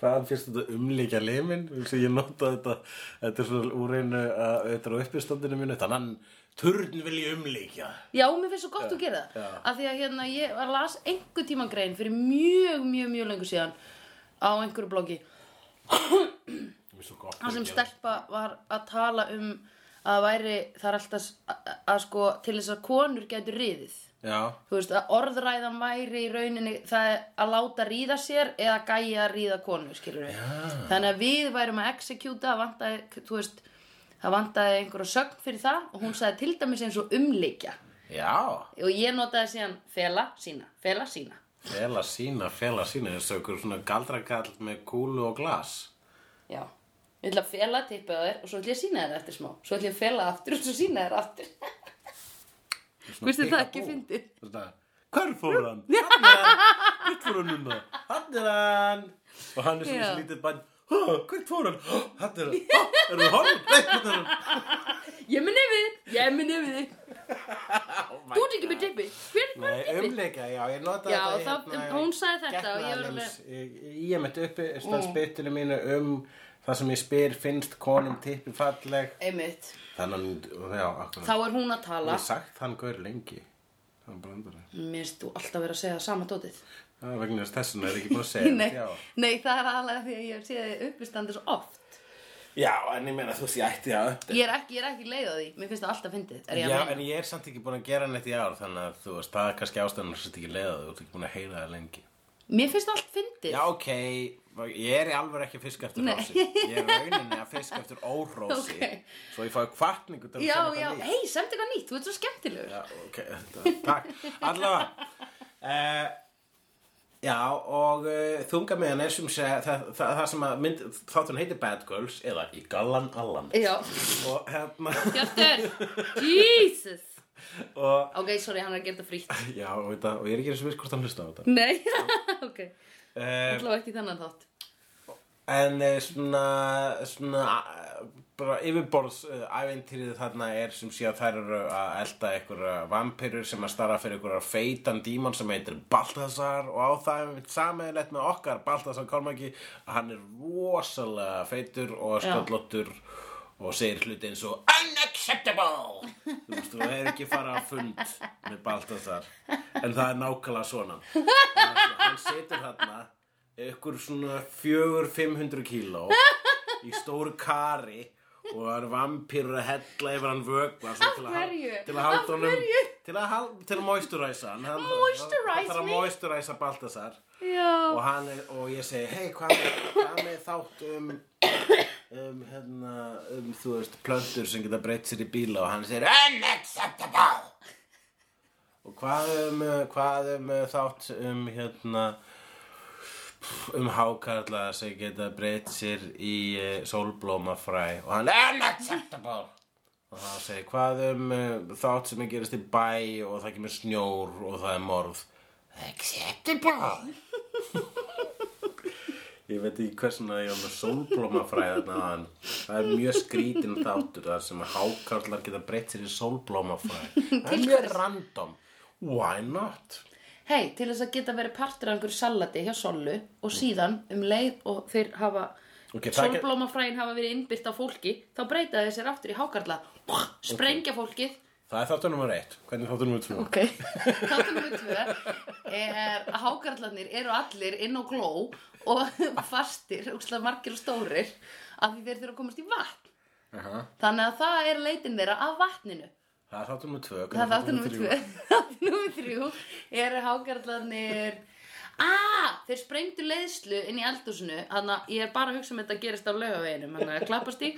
Speaker 2: Hvaðan fyrst þetta umlíkja limin? Þessi ég nota þetta, þetta er svona úr einu, að, þetta er á uppistandinu mínu, þannig að turn vil ég umlíkja.
Speaker 1: Já, mér finnst svo gott að gera það
Speaker 2: já.
Speaker 1: Af því að hérna, ég var las einhver tíma grein fyrir mjög, mjög, mjög lengur síðan á einhverju bloggi
Speaker 2: Mér finnst svo gott
Speaker 1: þar
Speaker 2: að
Speaker 1: sem
Speaker 2: gera.
Speaker 1: stelpa var að tala um að væri, það er alltaf s- að, að, að sko, til þess að konur gætu riðið
Speaker 2: Já,
Speaker 1: þú veist, að orðræðan væri í rauninni það er að láta ríða sér eða gæja að ríða konu, skilur við þannig að við værum að executa það vantaði, þú veist, það vantaði einhverja sögn fyrir það og hún sagði til dæmis eins og umleikja
Speaker 2: já,
Speaker 1: og ég notaði síðan fela sína, fela sína
Speaker 2: fela sína, fela sína, þessu okkur svona galdrakall með kúlu og glas.
Speaker 1: já, ég ætla að fela tippið á þér og svo ætla ég að sína þér eftir smá svo ætla ég að fela aftur og svo sína þér aftur Veistu, það er ekki fyndið.
Speaker 2: Hver fór hann? Hann er hann, hvert fór hann núna? Hann er hann. Og hann er svona
Speaker 1: Já.
Speaker 2: þessi lítið bann, hvert fór hann? Hó, Hann er hann, Hó, er hann horfinn? Nei, hann er hann.
Speaker 1: ég minn yfir, þig, ég minn yfir þig
Speaker 2: Oh
Speaker 1: þú ert ekki með tippið, hver var
Speaker 2: Nei, umleika, já, ég nota
Speaker 1: Já,
Speaker 2: þetta
Speaker 1: þá- um, hún sagði þetta og ég var
Speaker 2: getnaðarlaus. Ég ég mitt uppi, mm. spyttinu mínu um það sem ég spyr, finnst konum tippi falleg
Speaker 1: einmitt,
Speaker 2: Þannig, að- já, akkurat
Speaker 1: þá er hún að
Speaker 2: Ég
Speaker 1: tala
Speaker 2: hef sagt hann gaur lengi Hann brandar það
Speaker 1: Mér finnst þú alltaf verið að segja sama dótið
Speaker 2: Það er vegna þess þessum er ekki búin að segja
Speaker 1: nei,
Speaker 2: þetta, Eh, já.
Speaker 1: nei, það er aðlega því að ég hef séð þið uppistandi svo oft
Speaker 2: Já, en ég meina þú veist ég ætti að
Speaker 1: Ég er ekki, ég er ekki leið á því, mér finnst það alltaf fyndið Er ég
Speaker 2: Eh. Já,
Speaker 1: að meina?
Speaker 2: en ég er samt ekki búin að gera neitt í ár Þannig að þú veist, það er kannski ástæðan Þú ert ekki leiða þú, þú ert ekki búin að heyra það lengi
Speaker 1: Mér finnst það allt fyndið
Speaker 2: Já, ok, ég er í alveg ekki að fiska eftir
Speaker 1: Nei.
Speaker 2: rósi Ég er í rauninni að fiska eftir órósi
Speaker 1: Ok.
Speaker 2: Svo ég fái kvartningu til að
Speaker 1: Já,
Speaker 2: semja
Speaker 1: já,
Speaker 2: það líf.
Speaker 1: hei, semt eitthvað nýtt, þú ert svo skemmtilegur
Speaker 2: Já, ok, þetta, takk Allavega uh, Já, og uh, þunga meðan er sem sé það, það, það sem að mynd, þáttun heitir Bad Girls eða í Gallan Allan
Speaker 1: Já,
Speaker 2: og hérna
Speaker 1: Hjartur, Jesus
Speaker 2: og,
Speaker 1: Ok, sorry, hann er að gera þetta frítt
Speaker 2: já, og, þetta, og ég er ekki eins og viss hvort hann hlusta á þetta
Speaker 1: Nei, ok,
Speaker 2: uh,
Speaker 1: allavega ekki þennan þátt
Speaker 2: En eh, svona, svona eh, bara yfirborðs uh, æventýrið þarna er sem sé að þær eru að elda einhverja vampirur sem að starra fyrir einhverja feitan dímon sem heitir Baltasar og á það er sameiginlegt með okkar Baltasar Kormaki að hann er rosalega feitur og
Speaker 1: Já.
Speaker 2: sköllóttur og segir hluti eins og unacceptable þú veist, þú er ekki að fara á fund með Baltasar en það er nákvæmlega svona hann setur þarna ykkur svona 400-500 kíló í stóru kari og það er vampýrur að hella yfir hann vögva svo til að, hal-
Speaker 1: hverju?
Speaker 2: til að halda
Speaker 1: Af
Speaker 2: honum
Speaker 1: hverju?
Speaker 2: til að, hal- til að moisturæsa hann, hann,
Speaker 1: Moisturize
Speaker 2: hann þarf að
Speaker 1: me?
Speaker 2: moisturæsa Baltasar
Speaker 1: Já,
Speaker 2: og, hann er, og ég segi hei hvað, hvað með þátt um um hérna um þú veist plöntur sem geta breytt sér í bíla og hann segir unacceptable og hvað um eh, hvað um eh, þátt um hérna um hákarla sem geta breytt sér í uh, sólblómafræ og hann unacceptable og það segir hvað um uh, þátt sem gerist í bæ og það kemur snjór og það er morð acceptable Ég veit ekki hversin að ég var með sólblómafræðan að hann. Það er mjög skrítin þáttur þar sem hákarlar geta breytt sér í sólblómafræð. Það er mjög random. Why not?
Speaker 1: hei, til þess að geta verið partur af einhverju salati hjá Sollu og síðan um leið og þeir hafa
Speaker 2: Ok, það er ekki-
Speaker 1: Sólblómafræin hafa verið innbyrt á fólki þá breyta þeir sér aftur í hákarla sprengja fólkið
Speaker 2: Það er þáttur nummer eitt. Hvernig er þáttur nummer tvö?
Speaker 1: okay. þáttum við tvö er að hákarlarnir eru allir inn á gló og fastir, úrslega margir og stórir af því þeir þurfa að komast í vatn
Speaker 2: Aha.
Speaker 1: þannig að það er leitin þeirra að vatninu
Speaker 2: Það er þáttur nummer tvö. Hvernig
Speaker 1: það er þáttum við
Speaker 2: þáttur
Speaker 1: tvö
Speaker 2: númer
Speaker 1: þáttum við þrjú eru hákarlarnir Ah, þeir sprengdu leiðslu inn í eldhúsinu Þannig að ég er bara að hugsa um þetta gerist á laugaveginum Þannig að klappast í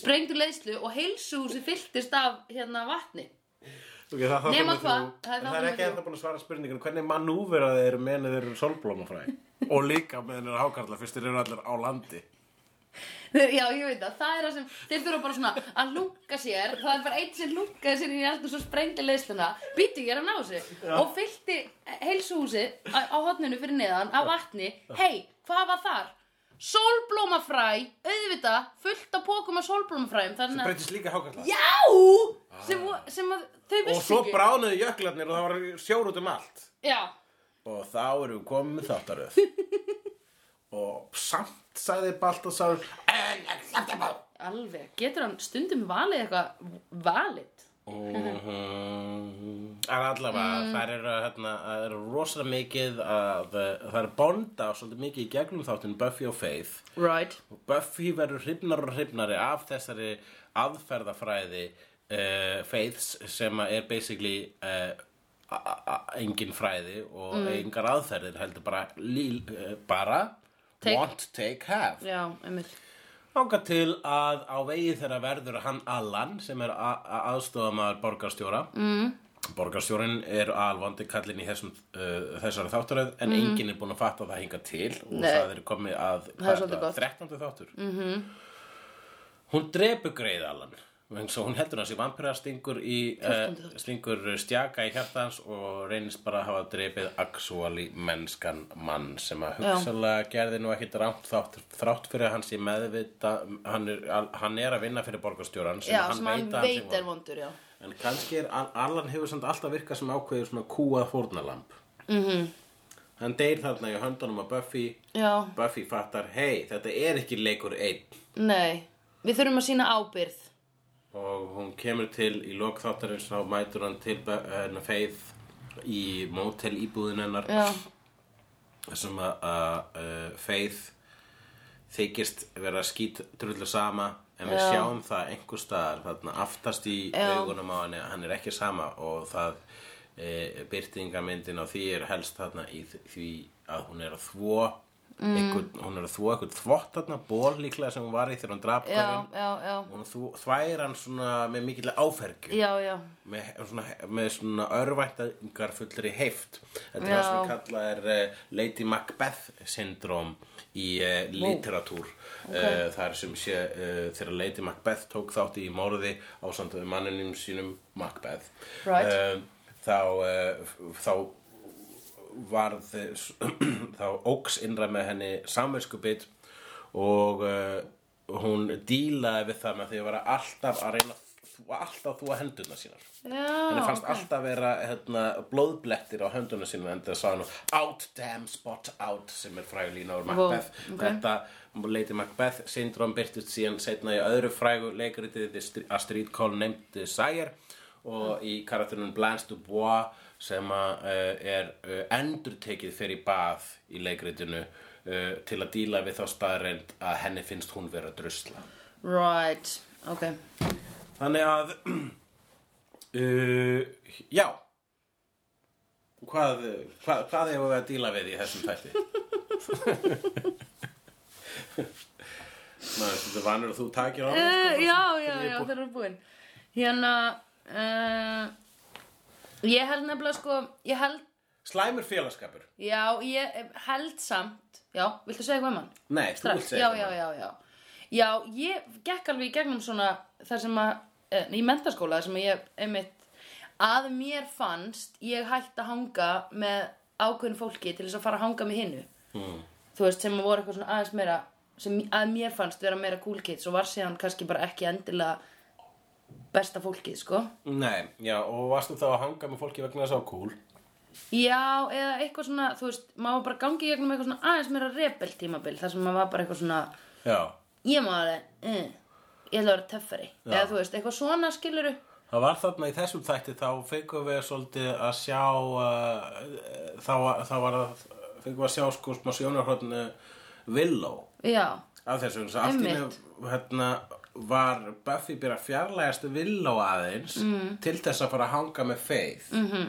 Speaker 1: Sprengdu leiðslu og heilsuhúsi fylltist af hérna vatni
Speaker 2: Ok, það er þáttur
Speaker 1: Nema
Speaker 2: númer
Speaker 1: hvað? Það er
Speaker 2: þrjú. En
Speaker 1: þáttur
Speaker 2: Það er
Speaker 1: númer
Speaker 2: ekki
Speaker 1: þrjú.
Speaker 2: eftir búin að svara spurningunum. Hvernig manúvera þeir eru meðan þeir eru sólblómafræð? Og líka meðan þeir eru hákarlar fyrst þeir eru allir á landi.
Speaker 1: Já, ég veit það, það er það sem þeir þurfa bara svona að lunga sér það er bara einn sem lungaði sér í allt og svo sprengdi leiðsluna, býti ég er að ná þessu og fyllti heilsuhúsi á, á hotninu fyrir neðan af vatni hei, hvað var þar? Sólblómafræ, auðvitað fullt af pókum af sólblómafræum
Speaker 2: Þeir
Speaker 1: þannig að,
Speaker 2: breytist líka hákarlar.
Speaker 1: já sem, vo- sem að þau
Speaker 2: Og
Speaker 1: vissi
Speaker 2: svo
Speaker 1: ekki
Speaker 2: bráðnuðu jöklarnir og það var sjór út um allt.
Speaker 1: Já,
Speaker 2: Og þá erum við komið með þáttaröð og samt sagði Baltasar unacceptable
Speaker 1: Alveg, getur hann stundum valið eitthvað valið?
Speaker 2: Mhm. En allavega, mm. það eru hérna, það eru rosalega mikið að eh, það eru bonda svolítið mikið í gegnum þáttinn Buffy og Faith
Speaker 1: Right.
Speaker 2: og Buffy verður hrifnar og hrifnari af þessari aðferðafræði uh, Faiths sem að er basically uh, engin fræði og engar aðferðir heldur bara, líl, uh, bara
Speaker 1: Take.
Speaker 2: want, take, have
Speaker 1: Já, einmitt.
Speaker 2: Þanga til að á vegi þeirra verður hann Allan sem er aðstofamaður borgarstjóra. Mm. Borgarstjórin er alvandi kallinn í þessum, uh, þessari þáttaröð en enginn er búinn að fatta það hinga til og
Speaker 1: Mm. Nei.
Speaker 2: það er komið að
Speaker 1: Það er svolítið gott.
Speaker 2: 13. þáttur. Mm -hmm. Hún drepur greið Allan vegna svo hún heldur hans í vampira stingur, í, uh, stingur stjaka í hjarta hans og reynist bara að hafa drepið actually mennskan mann sem að
Speaker 1: Já.
Speaker 2: hugsa hugsanlega gerði nú ekkit rámt þátt þrátt fyrir að hann sé meðvita hann er, hann er að vinna fyrir borgarstjóran sem
Speaker 1: Já,
Speaker 2: hann
Speaker 1: sem hann
Speaker 2: veit að
Speaker 1: veit
Speaker 2: sé
Speaker 1: er
Speaker 2: von.
Speaker 1: vondur, já.
Speaker 2: en kannski er Al- Allan hefur samt alltaf virkað sem ákveður svona kúað fórnalamb mm
Speaker 1: Mhm.
Speaker 2: -hmm. hann deyr þarna í höndunum að Buffy
Speaker 1: Já,
Speaker 2: Buffy fattar, hei, þetta er ekki leikur einn
Speaker 1: nei. Við þurfum að sína ábyrð.
Speaker 2: og hún kemur til í lokþáttarins þá mætur hann til hennar feið í mótel íbúðin hennar
Speaker 1: Já,
Speaker 2: sem að, að uh, Faith þykist vera skýt drullu sama en við
Speaker 1: Já.
Speaker 2: sjáum það einhver staðar þarna aftast í
Speaker 1: Já.
Speaker 2: augunum á henni að hann er ekki sama og það e, byrtingamyndin á því er helst þarna í þ- því að hún er að þvó mm. einhvern, hún er að þvó einhvern þvott þarna ból líklega sem hún var í þegar hún draf
Speaker 1: já,
Speaker 2: hverjum.
Speaker 1: já, já.
Speaker 2: hún þvó- þvær hann svona með mikill áfergju
Speaker 1: Já, já.
Speaker 2: með svona, með svona örvæntingar fullri heift þetta er
Speaker 1: Já.
Speaker 2: það sem kallað er eh, Lady Macbeth syndróm í uh, literatúr okay. þar sem sé uh, þegar Lady Macbeth tók þátti í morði á samt manninum sínum Macbeth
Speaker 1: Right.
Speaker 2: Eh, þá, uh, þá varð þá óks innra með henni samverskubit og uh, hún dílaði við það með því að vera alltaf að reyna alltaf þú að hendurna sínar henni
Speaker 1: Já,
Speaker 2: fannst alltaf vera hérna, blóðblettir á höndunum sínum en það sá hann out, damn, spot out sem er frægur lína úr Macbeth
Speaker 1: ok.
Speaker 2: þetta Lady Macbeth syndrom byrtist síðan setna í öðru frægu leikritið The Stre- A Street Call Named Desire og í karakterunum Blanche Dubois sem að uh, er uh, endurtekið fyrir bað í leikritinu uh, til að díla við þá staðreind að henni finnst hún vera drusla
Speaker 1: right. Ok.
Speaker 2: Þannig að uh, Já Hvað, hvað, hvað hefur við að díla við í þessum þætti? Maður, þetta er vanur að þú takir á mig, sko.
Speaker 1: Uh, já, já,
Speaker 2: ég
Speaker 1: já,
Speaker 2: búin.
Speaker 1: þeir eru búin Hérna uh, Ég held nefnilega sko Ég held,
Speaker 2: Slæmur félagskapur
Speaker 1: já, ég held samt Já, viltu segja eitthvað um hann?
Speaker 2: Nei, þú vilt
Speaker 1: Strax, já,
Speaker 2: segja
Speaker 1: já,
Speaker 2: það.
Speaker 1: já, já Já, ég gekk alveg í gegnum svona þar sem að, eh, í mentaskóla þar sem ég, einmitt að mér fannst ég hætt að hanga með ákveðin fólki til þess að fara að hanga með hinnu
Speaker 2: Mm.
Speaker 1: þú veist, sem voru eitthvað svona aðeins meira sem að mér fannst vera meira cool kids og var síðan kannski bara ekki endilega besta fólkið, sko
Speaker 2: Nei, já, og varstu þá að hanga með fólki vegna þess að kúl
Speaker 1: Já, eða eitthvað svona, þú veist, maður var bara gangi í gegnum eitthvað svona aðeins meira rebel tímabil þar sem maður var bara eitthvað svona
Speaker 2: Já,
Speaker 1: ég má alveg, uh, ég ætla að vera töffari eða þú veist, eitthvað svona skiluru
Speaker 2: Það var þarna í þessum þætti þá fengum við svolítið að sjá uh, þá, þá var það fengum við að sjá sko smá sjónarhóttinu Willow
Speaker 1: já,
Speaker 2: af þessu vegna, svo allt í
Speaker 1: Einmitt.
Speaker 2: einu hérna, var Buffy byrja að fjarlægast Willow aðeins mm. til þess að fara að hanga með Faith -hmm.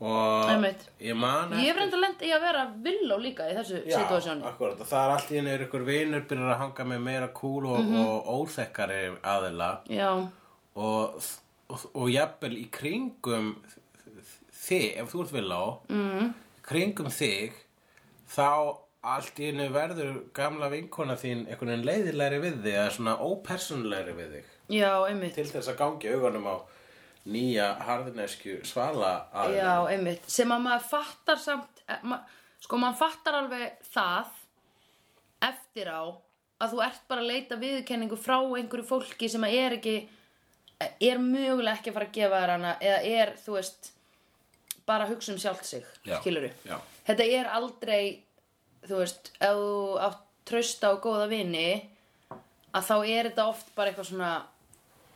Speaker 2: og
Speaker 1: Mhm. Einmitt.
Speaker 2: ég man
Speaker 1: ég hef reynda lent í að vera villó líka í þessu
Speaker 2: Já,
Speaker 1: situasjónu
Speaker 2: akkurat, og það er allt í einu er ykkur vinur byrjar að hanga með meira kúl og,
Speaker 1: Mhm.
Speaker 2: og óþekkari aðila
Speaker 1: já,
Speaker 2: og, og, og jafnvel í kringum þig, ef þú ert vil á mm. kringum þig þá allt í einu verður gamla vinkona þín einhvern veginn leiðilegri við þig eða svona ópersónulegri við þig
Speaker 1: já, einmitt
Speaker 2: til þess að gangi augunum á nýja harðinesku svala aðeins
Speaker 1: já, einmitt, sem að maður fattar samt, eh, ma, sko maður fattar alveg það eftir á að þú ert bara að leita viðurkenningu frá einhverju fólki sem að er ekki eh, er mögulega ekki að fara að gefa þér hana eða er, þú veist bara að hugsa um sjálft sig,
Speaker 2: Já,
Speaker 1: skiluru
Speaker 2: já.
Speaker 1: þetta er aldrei þú veist, ef þú átt trausta og góða vini að þá er þetta oft bara eitthvað svona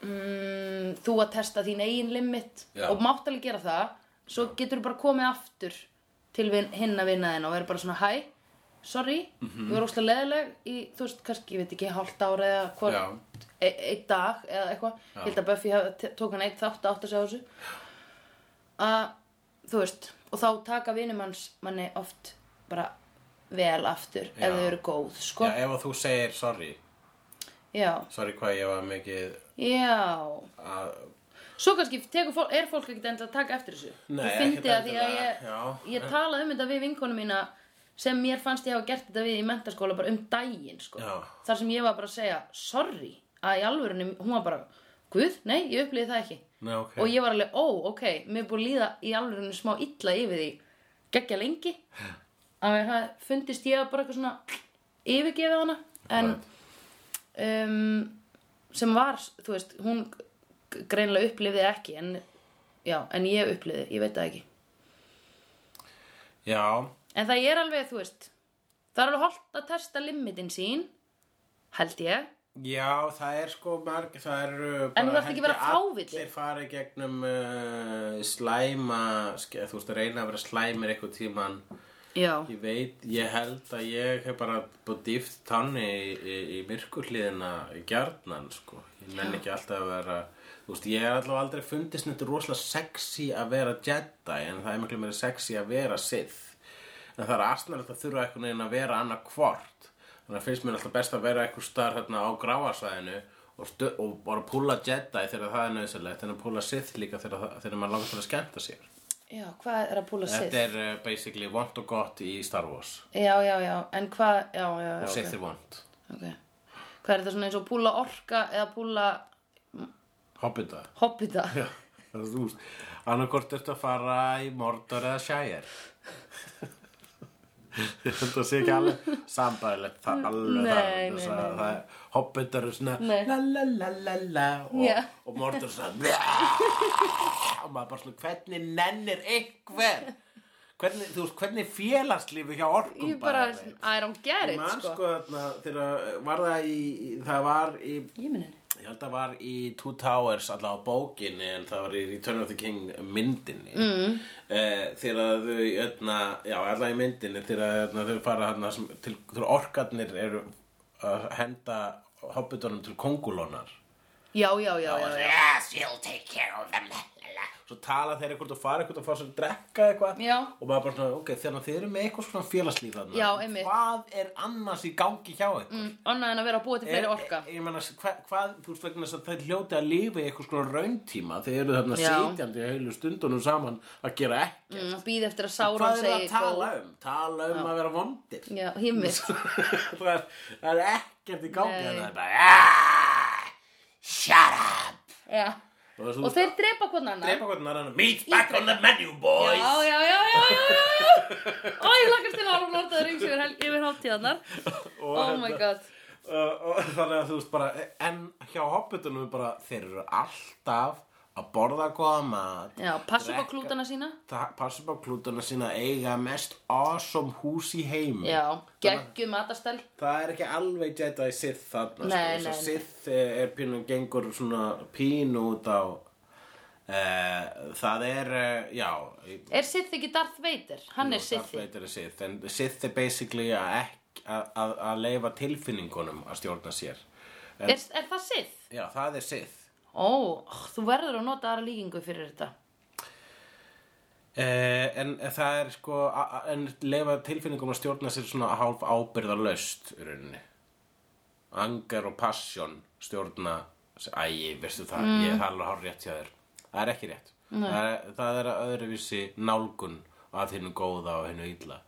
Speaker 1: mm, þú að testa þín eigin limit
Speaker 2: Já.
Speaker 1: og mátt alveg gera það svo getur þú bara komið aftur til vin, hinna vinnaðin og verður bara svona hæ, sorry, mm
Speaker 2: Mhm.
Speaker 1: -hmm. við erum óslega leðileg í, þú veist, kannski, ég veit ekki, hálft ára eða hvort,
Speaker 2: Já.
Speaker 1: e einn dag eða eitthvað, ég held að Buffy hafi- t- tók hann eitt þátt að átta sig á þessu að, þú veist og þá taka vinum hans manni oft bara vel aftur
Speaker 2: Já.
Speaker 1: ef þau eru góð, sko
Speaker 2: Já, ef að þú segir sorry,
Speaker 1: já,
Speaker 2: sorry hvað ég var mikið
Speaker 1: já.
Speaker 2: að...
Speaker 1: Svo kannski tekur fólk, er fólk ekkert endilega að taka eftir þessu.
Speaker 2: Nei,
Speaker 1: ég fyndi
Speaker 2: ekkert
Speaker 1: að því að
Speaker 2: endilega,
Speaker 1: ég,
Speaker 2: já.
Speaker 1: ég talaði um þetta við vinkonu mína sem mér fannst ég hafa gert þetta við í mentaskóla bara um daginn, sko.
Speaker 2: Já.
Speaker 1: Þar sem ég var bara að segja, sorry, að í alvörunni, hún var bara, guð, nei, ég upplýði það ekki.
Speaker 2: Nei, ok.
Speaker 1: Og ég var alveg, ó, ok, mér er búið að líða í alvörunni smá illa yfir því, geggja lengi. Að mér hafði- fundist ég bara eitthvað svona yfirgefið hana. En,
Speaker 2: Right.
Speaker 1: um, sem var, þú veist, hún g- greinilega upplifði ekki en, já, en ég upplifði, ég veit það ekki
Speaker 2: Já,
Speaker 1: en það er alveg, þú veist það er alveg holdt að testa limitin sín held ég
Speaker 2: Já, það er sko marg, það eru bara
Speaker 1: En þú þarft ekki að vera
Speaker 2: held ég
Speaker 1: fáviti.
Speaker 2: Allir fara í gegnum uh, slæma, ske- þú veist, reyna að vera slæmir eitthvað tíman
Speaker 1: já,
Speaker 2: Ég veit, ég held að ég hef bara búið dýft tanni í, í, í myrkurliðina í gjarnan, sko Ég menn ekki alltaf að vera, þú veist, ég er allavega aldrei fundist þetta rosalega sexy að vera Jedi En það er miklu meira sexy að vera Sith En það er aðsnarlegt að þurfa einhvern veginn að vera annað hvort. Þannig að finnst mér alltaf best að vera einhver starf hérna á gráasæðinu og, stu- og bara púla Jedi þegar það er nöðsynlegt en að púla Sith líka þegar, það- þegar maður langar til að skemmta sér.
Speaker 1: já, hvað er að púla Sith?
Speaker 2: Þetta er uh, basically vond og gott í Star Wars.
Speaker 1: já, já, já, en hvað já, já,
Speaker 2: Og
Speaker 1: já,
Speaker 2: Sith er vond.
Speaker 1: ok, okay. hvað er þetta svona eins og púla orka eða púla
Speaker 2: Hobbita.
Speaker 1: hobbita
Speaker 2: Annarkort ertu að fara í Mordor eða Shire. Ég held að sé ekki alveg sambæðilegt það alveg
Speaker 1: Nei,
Speaker 2: það,
Speaker 1: nei, nei,
Speaker 2: þess að
Speaker 1: nei.
Speaker 2: það er hobbitar er svona
Speaker 1: Nei.
Speaker 2: la la la la la og,
Speaker 1: Já.
Speaker 2: og Mordor er svona "Bæ!" og maður bara svona hvernig nennir einhver hvernig, þú veist, hvernig félagslífi hjá orkum
Speaker 1: ég bara, I don't get it,
Speaker 2: Man,
Speaker 1: sko,
Speaker 2: sko, þarna, þegar eh, var það í, í- það var í
Speaker 1: ég minn henni
Speaker 2: Ég held að var í Two Towers allavega á bókinni en það var í Return of the King myndinni mm. þegar þau öðna, já allavega í myndinni þegar öðna, þau fara þarna sem- til þegar orkarnir eru að henda hobbitunum til kongulónar
Speaker 1: já, já, já, já, já,
Speaker 3: Yes, you'll take care of them.
Speaker 2: svo tala þeir eitthvað og fara eitthvað og fara sér að drekka eitthvað
Speaker 1: Já.
Speaker 2: og maður bara svona, ok, þannig að þið eru með eitthvað svona félagslíf þarna
Speaker 1: Já, einmitt.
Speaker 2: hvað er annars í gangi hjá ykkur?
Speaker 1: Mm, annað en að vera að búa til
Speaker 2: Eh,
Speaker 1: fleiri orka
Speaker 2: Ég, ég meina, hva, hvað, þú veist vegna þess að það hljóti að lifa í eitthvað svona rauntíma þeir eru þarna
Speaker 1: Já.
Speaker 2: sitjandi heilu stundunum saman að gera ekki
Speaker 1: mm, býð eftir að sára
Speaker 2: eh, Hvað er það að tala um? Tala um að vera vondir
Speaker 1: já, himmir
Speaker 2: það, er, það er ekkert í gangi
Speaker 1: Nei.
Speaker 2: það er bara "Ah, Shut up
Speaker 1: Já.
Speaker 2: Og,
Speaker 1: Og þeir drepa hvern annan.
Speaker 2: drepa hvernig annan Meat back on the menu boys
Speaker 1: Já, já, já, já, já, já. Ó, ég lakast til að horfa nortaður eins yfir, hel- yfir hátíðarnar.
Speaker 2: Og
Speaker 1: Oh
Speaker 2: hérna-
Speaker 1: my god.
Speaker 2: uh, og þannig að þú veist bara en hjá hobbitunum er bara þeir eru alltaf að borða góða mat
Speaker 1: Já, passa upp á
Speaker 2: drekka-
Speaker 1: klútana sína.
Speaker 2: ta- passa upp á klútana sína eiga mest awesome hús í heim
Speaker 1: Já, geggjum matastel.
Speaker 2: það er ekki alveg Jedi Sith þarna
Speaker 1: Nei,
Speaker 2: sko.
Speaker 1: nei,
Speaker 2: Svo
Speaker 1: nei.
Speaker 2: Sith eh, er pínu gengur svona pínu út á Uh, það er, uh, já í-
Speaker 1: Er Sith ekki Darth Vader? Hann er
Speaker 2: Darth
Speaker 1: Sith.
Speaker 2: Vader er Sith en Sith er basically að ekki- að- að að leifa tilfinningunum að stjórna sér
Speaker 1: Er, er það Sith?
Speaker 2: já, það er Sith
Speaker 1: Ó, þú verður að nota aðra líkingu fyrir þetta.
Speaker 2: Eh, en það er sko a- a- en leifa tilfinningum að stjórna sér svona hálf ábyrðarlaust í rauninni Anger og passion stjórna Æ, veistu það, ég það er alveg hár rétt hjá þér Það er ekki rétt það er, það er öðruvísi nálgun að hinnu góða og hinnu illa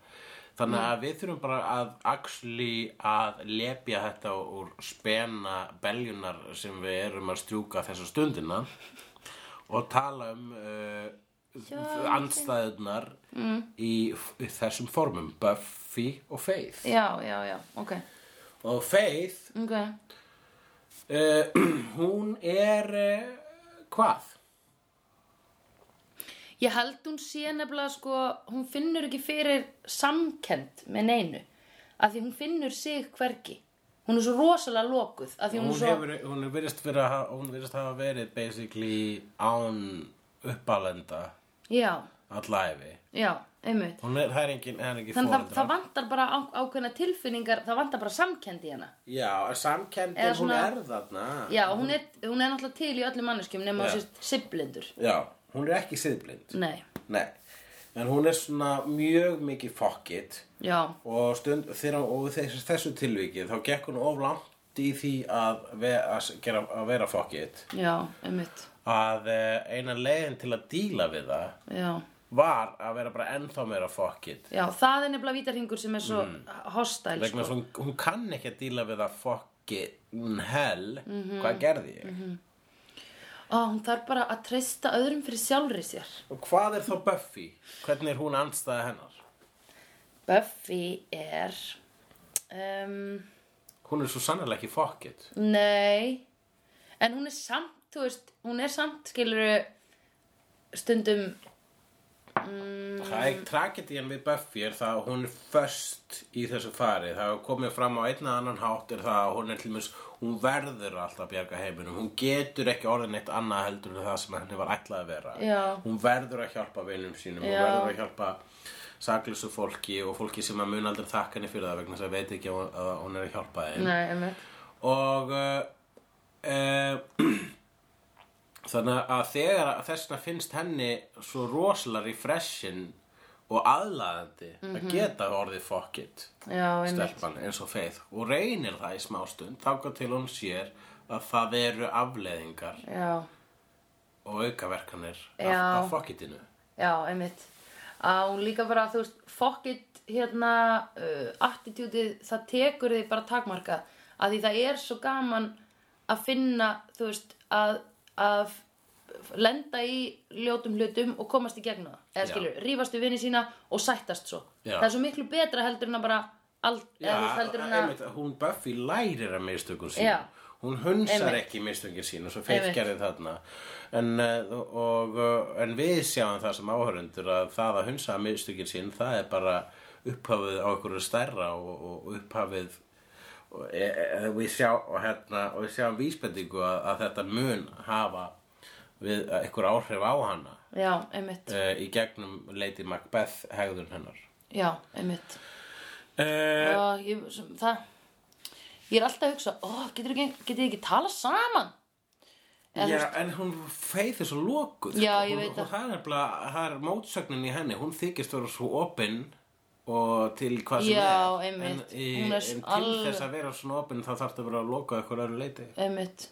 Speaker 2: Þannig að við þurfum bara að axli að lepja þetta úr spena beljunar sem við erum að strjúka þessa stundina og tala um uh, andstæðunar í, f- í þessum formum Buffy og Faith
Speaker 1: Já, já, já, ok.
Speaker 2: og Faith
Speaker 1: Ok.
Speaker 2: uh, hún er uh, hvað?
Speaker 1: Ég held hún sé nefnilega sko, hún finnur ekki fyrir samkend með neinu. af því hún finnur sig hvergi hún er svo rosalega lokuð af því hún,
Speaker 2: Hún,
Speaker 1: er svo
Speaker 2: hefur, hún, er virðist vera, hún virðist hafa verið basically án uppalenda
Speaker 1: já,
Speaker 2: allæfi.
Speaker 1: já, einmitt
Speaker 2: Hún er, það er engin, það er engin
Speaker 1: þannig að það,
Speaker 2: foreldrar.
Speaker 1: það vantar bara á, ákveðna tilfinningar það vantar bara samkendi hérna
Speaker 2: Já, samkendin,
Speaker 1: Eða
Speaker 2: hún
Speaker 1: svona-
Speaker 2: er þarna.
Speaker 1: já, hún er, hún er náttúrulega til í öllum manneskjum nema
Speaker 2: Já.
Speaker 1: yeah. þessi siblindur
Speaker 2: Já, hún er ekki siðblind.
Speaker 1: nei,
Speaker 2: Nei. En hún er svona mjög mikið fuck it.
Speaker 1: já,
Speaker 2: og stund þegar og þessu, þessu tilviki þá gekk hún of langt í því að, ve, að, s- gera, að vera fuck it
Speaker 1: já, einmitt
Speaker 2: að eh, eina leiðin til að díla við það
Speaker 1: já,
Speaker 2: var að vera bara ennþá meira fuck it
Speaker 1: já, það er nefnilega vítarhingur sem er svo hostile
Speaker 2: vegna þess
Speaker 1: sko.
Speaker 2: að hún, hún kann ekki að díla við það fuck it hell hvað gerði ég
Speaker 1: Ó, hún þarf bara að treysta öðrum fyrir sjálfri sér
Speaker 2: og hvað er þá Buffy hvernig er hún andstæða hennar
Speaker 1: Buffy er um,
Speaker 2: hún er svo sannarlega ekki fuck it
Speaker 1: Nei En hún er samt, þú veist Hún er samt, skilur Stundum
Speaker 2: Það er tragedian við Buffy er það að hún er föst í þessu fari. Það er komið fram á einn eða annan hátt er það að hún er til mjög, hún verður alltaf að bjarga heiminum. Hún getur ekki orðin eitt annað heldur en það sem henni var ætlað að vera.
Speaker 1: Já.
Speaker 2: Hún verður að hjálpa vinum sínum,
Speaker 1: Já.
Speaker 2: hún verður að hjálpa saklausu fólki og fólki sem að mun aldrei þakka henni fyrir það vegna þess að veit ekki að hún- að hún er að hjálpa þeim
Speaker 1: Nei, einmitt
Speaker 2: og uh, uh, þannig að þegar þessna finnst henni svo rosalega refreshin og aðlaðandi að geta orðið fuck it
Speaker 1: Mhm. Já, einmitt
Speaker 2: stelpan eins og feið og reynir það í smástund þáka til hún sér að það eru afleðingar
Speaker 1: Já,
Speaker 2: og aukaverkanir af,
Speaker 1: Já.
Speaker 2: af fuck itinu
Speaker 1: já, einmitt Að hún líka bara, þú veist Fuck it, hérna uh, Attitútið, það tekur þig bara takmarka Að því það er svo gaman Að finna, þú veist Að, að lenda í ljótum hlutum og komast í gegn það eða
Speaker 2: Já.
Speaker 1: skilur, rífast við vinni sína og sættast svo
Speaker 2: Já.
Speaker 1: það er svo miklu betra heldur en að bara ald, eða þú veist, heldur en að
Speaker 2: einmitt, hún Buffy lærir af mistökum sín
Speaker 1: Já.
Speaker 2: hún hunsar
Speaker 1: Einmitt.
Speaker 2: ekki mistökin sín og svo feitt
Speaker 1: Einmitt.
Speaker 2: gerði þarna en, eh, og, eh, en við sjáum það sem áhörundur að það að hunsa mistökin sín það er bara upphafið á einhverju stærra og, og upphafið og, e, e, við sjá og, hérna, og við sjáum vísbendingu að, að þetta mun hafa við eh, einhver áhrif á hana
Speaker 1: já, einmitt,
Speaker 2: e, í gegnum Lady Macbeth hegðun hennar
Speaker 1: já, einmitt
Speaker 2: e,
Speaker 1: og ég, sem, það ég er alltaf að hugsa, ó, getur ekki getur ekki tala saman Eða þú
Speaker 2: Já, en hún feið þessu lokuð
Speaker 1: Já,
Speaker 2: sko.
Speaker 1: ég
Speaker 2: Hún-
Speaker 1: veit
Speaker 2: hún-
Speaker 1: það.
Speaker 2: Það er nefnilega, það er mótsögnin í henni Hún þykist vera svo opinn og til hvað sem
Speaker 1: Já,
Speaker 2: er
Speaker 1: einmitt.
Speaker 2: En, í,
Speaker 1: Hún er
Speaker 2: en til
Speaker 1: alveg-
Speaker 2: þess að vera svona opinn þá þarf það að vera að loka eitthvað öðru leiti
Speaker 1: einmitt,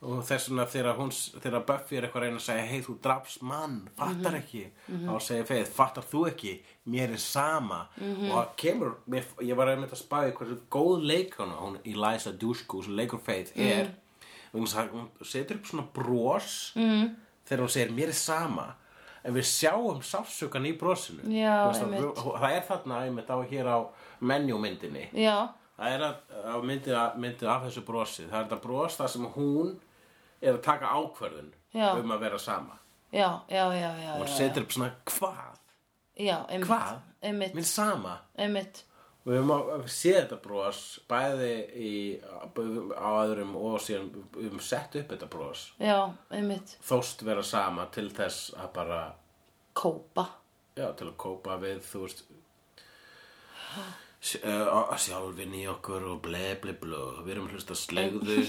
Speaker 2: Og þess vegna þegar, hún, s- þegar Buffy er eitthvað að reyna að segja Hei, þú drafst mann, fattar
Speaker 1: Mhm.
Speaker 2: ekki Þá segir feið, fattar þú ekki, mér er sama
Speaker 1: Mhm.
Speaker 2: Og það kemur, mér, ég var einmitt að spáði hversu góð leikona Hún Eliza Dushku sem leikur feið
Speaker 1: Mhm.
Speaker 2: er mm -hmm. Hún setur upp svona bros
Speaker 1: Mhm.
Speaker 2: mm. Þegar hún segir, mér er sama En við sjáum sáfsökan í brosinu
Speaker 1: Já,
Speaker 2: Þú veist, það-
Speaker 1: einmitt.
Speaker 2: Það er þarna einmitt á hér á menjumyndinni
Speaker 1: já,
Speaker 2: Það er að, að myndið myndi af þessu brosi. Það er þetta bros þar sem hún er að taka ákvörðun
Speaker 1: Já.
Speaker 2: um að vera sama.
Speaker 1: já, já, já, já,
Speaker 2: Og hún
Speaker 1: já, já.
Speaker 2: setur upp svona hvað?
Speaker 1: já einmitt,
Speaker 2: Hvað?
Speaker 1: einmitt,
Speaker 2: Minn sama.
Speaker 1: einmitt
Speaker 2: Og við höfum séð þetta bros bæði í, á öðrum og síðan við höfum sett upp þetta bros.
Speaker 1: já, einmitt,
Speaker 2: Þóst vera sama til þess að bara,
Speaker 1: kópa
Speaker 2: já, til að kópa við, þú veist, s- uh, sjálfin í okkur og ble ble ble við erum að hlusta á slegðu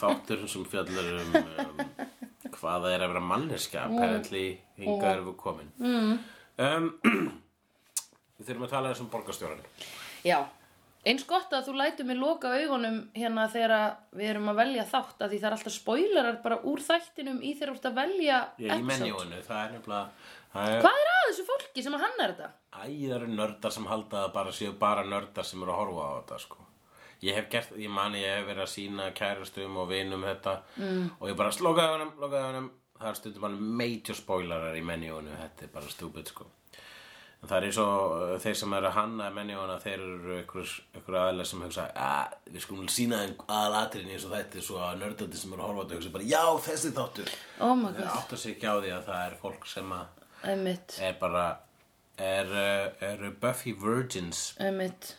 Speaker 2: þáttur sem fjallar um, um hvað það er að vera manneska apparently hinga erum við komin mm. um, við þurfum að tala þessum borgarstjóran
Speaker 1: já, eins gott að þú lætur mig loka augunum hérna þegar að við erum að velja þátt að því það er alltaf spoilerar bara úr þættinum í þegar þú ert að velja
Speaker 2: ég er í menjóinu, það er nefnilega það er
Speaker 1: hvað er að þessu fólki sem að hanna þetta?
Speaker 2: æðar nördar sem halda að bara séu bara nördar sem eru að horfa á þetta sko Ég hef gert, ég mani, ég hef verið að sína kærastum og vinum þetta mm. og ég bara slokaði honum, lokaði honum það er stundum alveg major spoilerar í menjónu þetta er bara stúpid sko en það er eins og uh, þeir sem eru að hanna menjóna, þeir eru einhver, einhver aðlega sem hugsa, að við skulum sína þeim aðalatriðin eins og þetta er svo að nördandi sem eru að horfa á þetta hugsa bara, já, þessi þáttur
Speaker 1: oh my
Speaker 2: það
Speaker 1: god,
Speaker 2: áttar sig ekki á því að það er fólk sem að
Speaker 1: einmitt
Speaker 2: er bara er, eh, er Buffy Virgins
Speaker 1: Einmitt.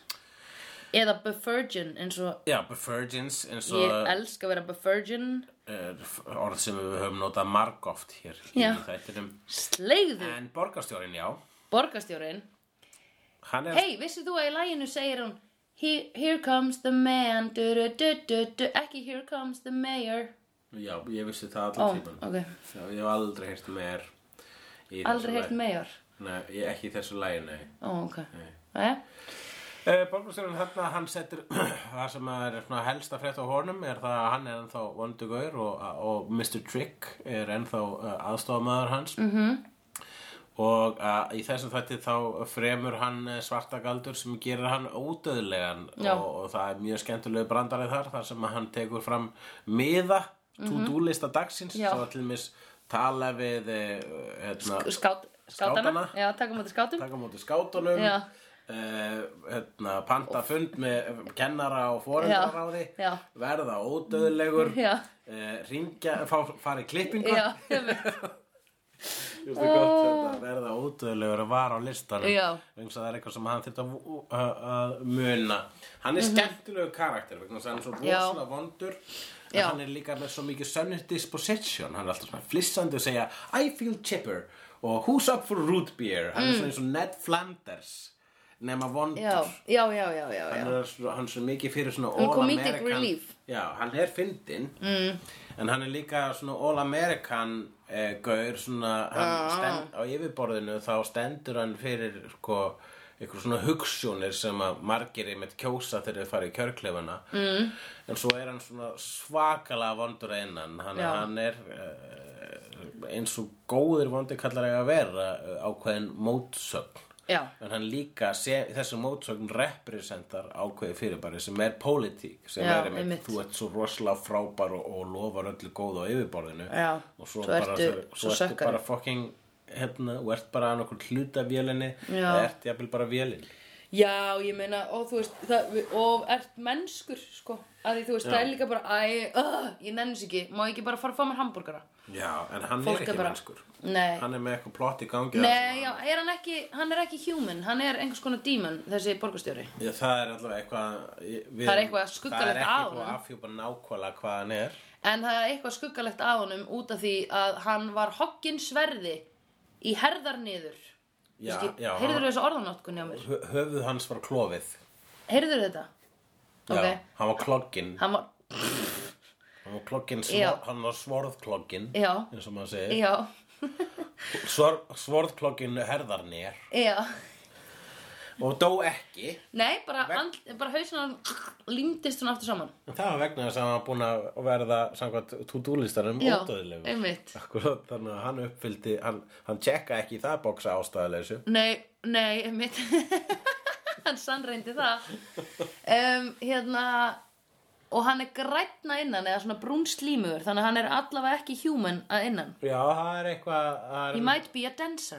Speaker 1: Eða Buffergin, eins og
Speaker 2: Já, Virgins eins og
Speaker 1: ég elska að vera Buffergin.
Speaker 2: er orð sem við höfum notað margóft hér
Speaker 1: Já.
Speaker 2: í þættinum
Speaker 1: Slegðu,
Speaker 2: En borgarstjórin, já
Speaker 1: borgarstjórinn.
Speaker 2: Hann er,
Speaker 1: Hei, vissið þú að í læginu segir hún Here, here comes the man, du du du du du Ekki here comes the mayor.
Speaker 2: já, ég vissi það
Speaker 1: Ó,
Speaker 2: allan tíman
Speaker 1: ok.
Speaker 2: Já, ég hef aldrei heyrt meir í þessu
Speaker 1: Aldrei heilt
Speaker 2: lagi.
Speaker 1: mayor.
Speaker 2: Nei, ég, ekki í þessu lægi, nei
Speaker 1: Ó, ok. Jæja.
Speaker 2: Eh, Borgarstjórinn þarna, hann setur það sem er svona helst að frétta á honum er það að hann er ennþá vondugur og, og Mr. Trick er ennþá uh, aðstofamæður hans mm
Speaker 1: Mhm.
Speaker 2: -hmm. og uh, í þessum þætti þá fremur hann eh, svarta galdur sem gerir hann ódöðlegan
Speaker 1: Já.
Speaker 2: og, og það er mjög skemmtilegu brandarið þar þar sem að hann tekur fram miða to-do-lista dagsins
Speaker 1: Mhm. Já.
Speaker 2: svo til mis tala við eh, hérna,
Speaker 1: Skát, skátana.
Speaker 2: Skátana.
Speaker 1: Já, takum á þetta skátum.
Speaker 2: taka á móti skátunum
Speaker 1: Já.
Speaker 2: eh, hérna, panta fund með kennara og foreldraráði
Speaker 1: Já, já.
Speaker 2: verða ódöðlegur
Speaker 1: Já.
Speaker 2: eh, ringja, fá, fara í klippingu
Speaker 1: Já, einmitt.
Speaker 2: Just oh. gott, hérna, verða ódöðlegur að vara á listanum
Speaker 1: Ah. Já.
Speaker 2: vegna þess að það er eitthvað sem hann þurft að, vo- að- að muna hann er skemmtilegu karakter vegna þess að hann er svo
Speaker 1: Mhm. Já.
Speaker 2: rosalega vondur en
Speaker 1: Já.
Speaker 2: hann er líka með svo mikið sönnur disposition hann er alltaf svona flissandi og segja I feel chipper og who's up for root beer hann er svona eins og Ned Flanders nema vondur
Speaker 1: Mm. já, já, já, já, já,
Speaker 2: hann
Speaker 1: já.
Speaker 2: er svo, hann er svo mikið fyrir svona
Speaker 1: Hann er
Speaker 2: all
Speaker 1: comedic
Speaker 2: American
Speaker 1: relief.
Speaker 2: já, hann er fyndin mm. en hann er líka svona all American eh, gaur svona hann stend, á yfirborðinu þá stendur hann fyrir sko ykkur svona hugssjónir sem að margir einmitt kjósa þegar þau fara í kjörklefuna mm. en svo er hann svona svakalega vondur að innan hann,
Speaker 1: Já.
Speaker 2: hann er eh, eins og góðir vondi kallar eiga að vera eh, ákveðin mótsögn
Speaker 1: Já,
Speaker 2: en hann líka sé, þessu mótsögn representar ákveði fyrirbæri sem er pólitík sem
Speaker 1: Já,
Speaker 2: er einmitt,
Speaker 1: einmitt.
Speaker 2: þú ert svo rosalega frábær og, og lofar öllu góða á yfirborðinu
Speaker 1: Já,
Speaker 2: og svo,
Speaker 1: svo
Speaker 2: bara,
Speaker 1: ertu-
Speaker 2: svo,
Speaker 1: svo
Speaker 2: svo ertu
Speaker 1: sökkari.
Speaker 2: bara fucking hérna, og ert bara að nokkur hluta vélinni
Speaker 1: Já.
Speaker 2: eða ert jafnvel bara vélin
Speaker 1: já, ég meina, og þú veist, það, við- og ert mennskur, sko, að því þú veist,
Speaker 2: Já.
Speaker 1: það er líka bara, æ, uh, ég nenni sér ekki, má ég ekki bara fara að fá mér hambúrgara?
Speaker 2: Já, en hann
Speaker 1: Fólk
Speaker 2: er
Speaker 1: er
Speaker 2: ekki
Speaker 1: bara-
Speaker 2: mennskur
Speaker 1: Nei.
Speaker 2: hann er með eitthvað plott í gangi
Speaker 1: Nei, já, er hann ekki, hann er ekki human, hann er einhvers konar dímon, þessi borgarstjóri.
Speaker 2: Já, það er allavega eitthvað við,
Speaker 1: Það er eitthvað skuggalegt
Speaker 2: það er
Speaker 1: á
Speaker 2: ekki búið að
Speaker 1: honum.
Speaker 2: afhjúpa nákvæmlega hvað hann er
Speaker 1: En það er eitthvað skuggalegt á honum út af því að hann var hoggin sverði í herðar niður.
Speaker 2: Já, já, hann-
Speaker 1: Heyrður þessu orðanótkun hjá mér?
Speaker 2: Hö- höfuð hans var klofið
Speaker 1: Heyrður þetta?
Speaker 2: Já,
Speaker 1: Ok.
Speaker 2: hann var klogginn
Speaker 1: Hann var,
Speaker 2: Hann var klokkin,
Speaker 1: Já.
Speaker 2: svor, hann var svorðklokkin
Speaker 1: Já.
Speaker 2: eins og maður segir
Speaker 1: já,
Speaker 2: Svor, Svorðklokkin herðarnir
Speaker 1: já.
Speaker 2: og dó ekki
Speaker 1: Nei, bara, and, bara hausin hann límdist hún aftur saman.
Speaker 2: En Það var vegna þess að hann var búin að verða samkvæmt to-do-listanum
Speaker 1: Já,
Speaker 2: ódöðilegu
Speaker 1: einmitt.
Speaker 2: Akkurat, þannig að hann uppfyldi hann, hann tjekka ekki í það bóksa ástæðuleysu
Speaker 1: Nei, nei, einmitt. hann sannreyndi það. Um, hérna, og hann er grænna innan eða svona brún slímur, þannig að hann er allavega ekki human að innan.
Speaker 2: Já, það er eitthvað það er,
Speaker 1: He might be a dancer.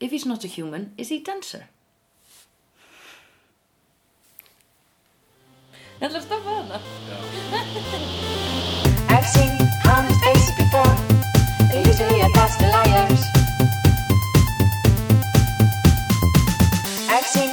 Speaker 1: If he's not a human, is he a dancer? Ég ætla að stoppa þarna.
Speaker 5: I've seen honest faces before. They're usually a pass to liars. I've seen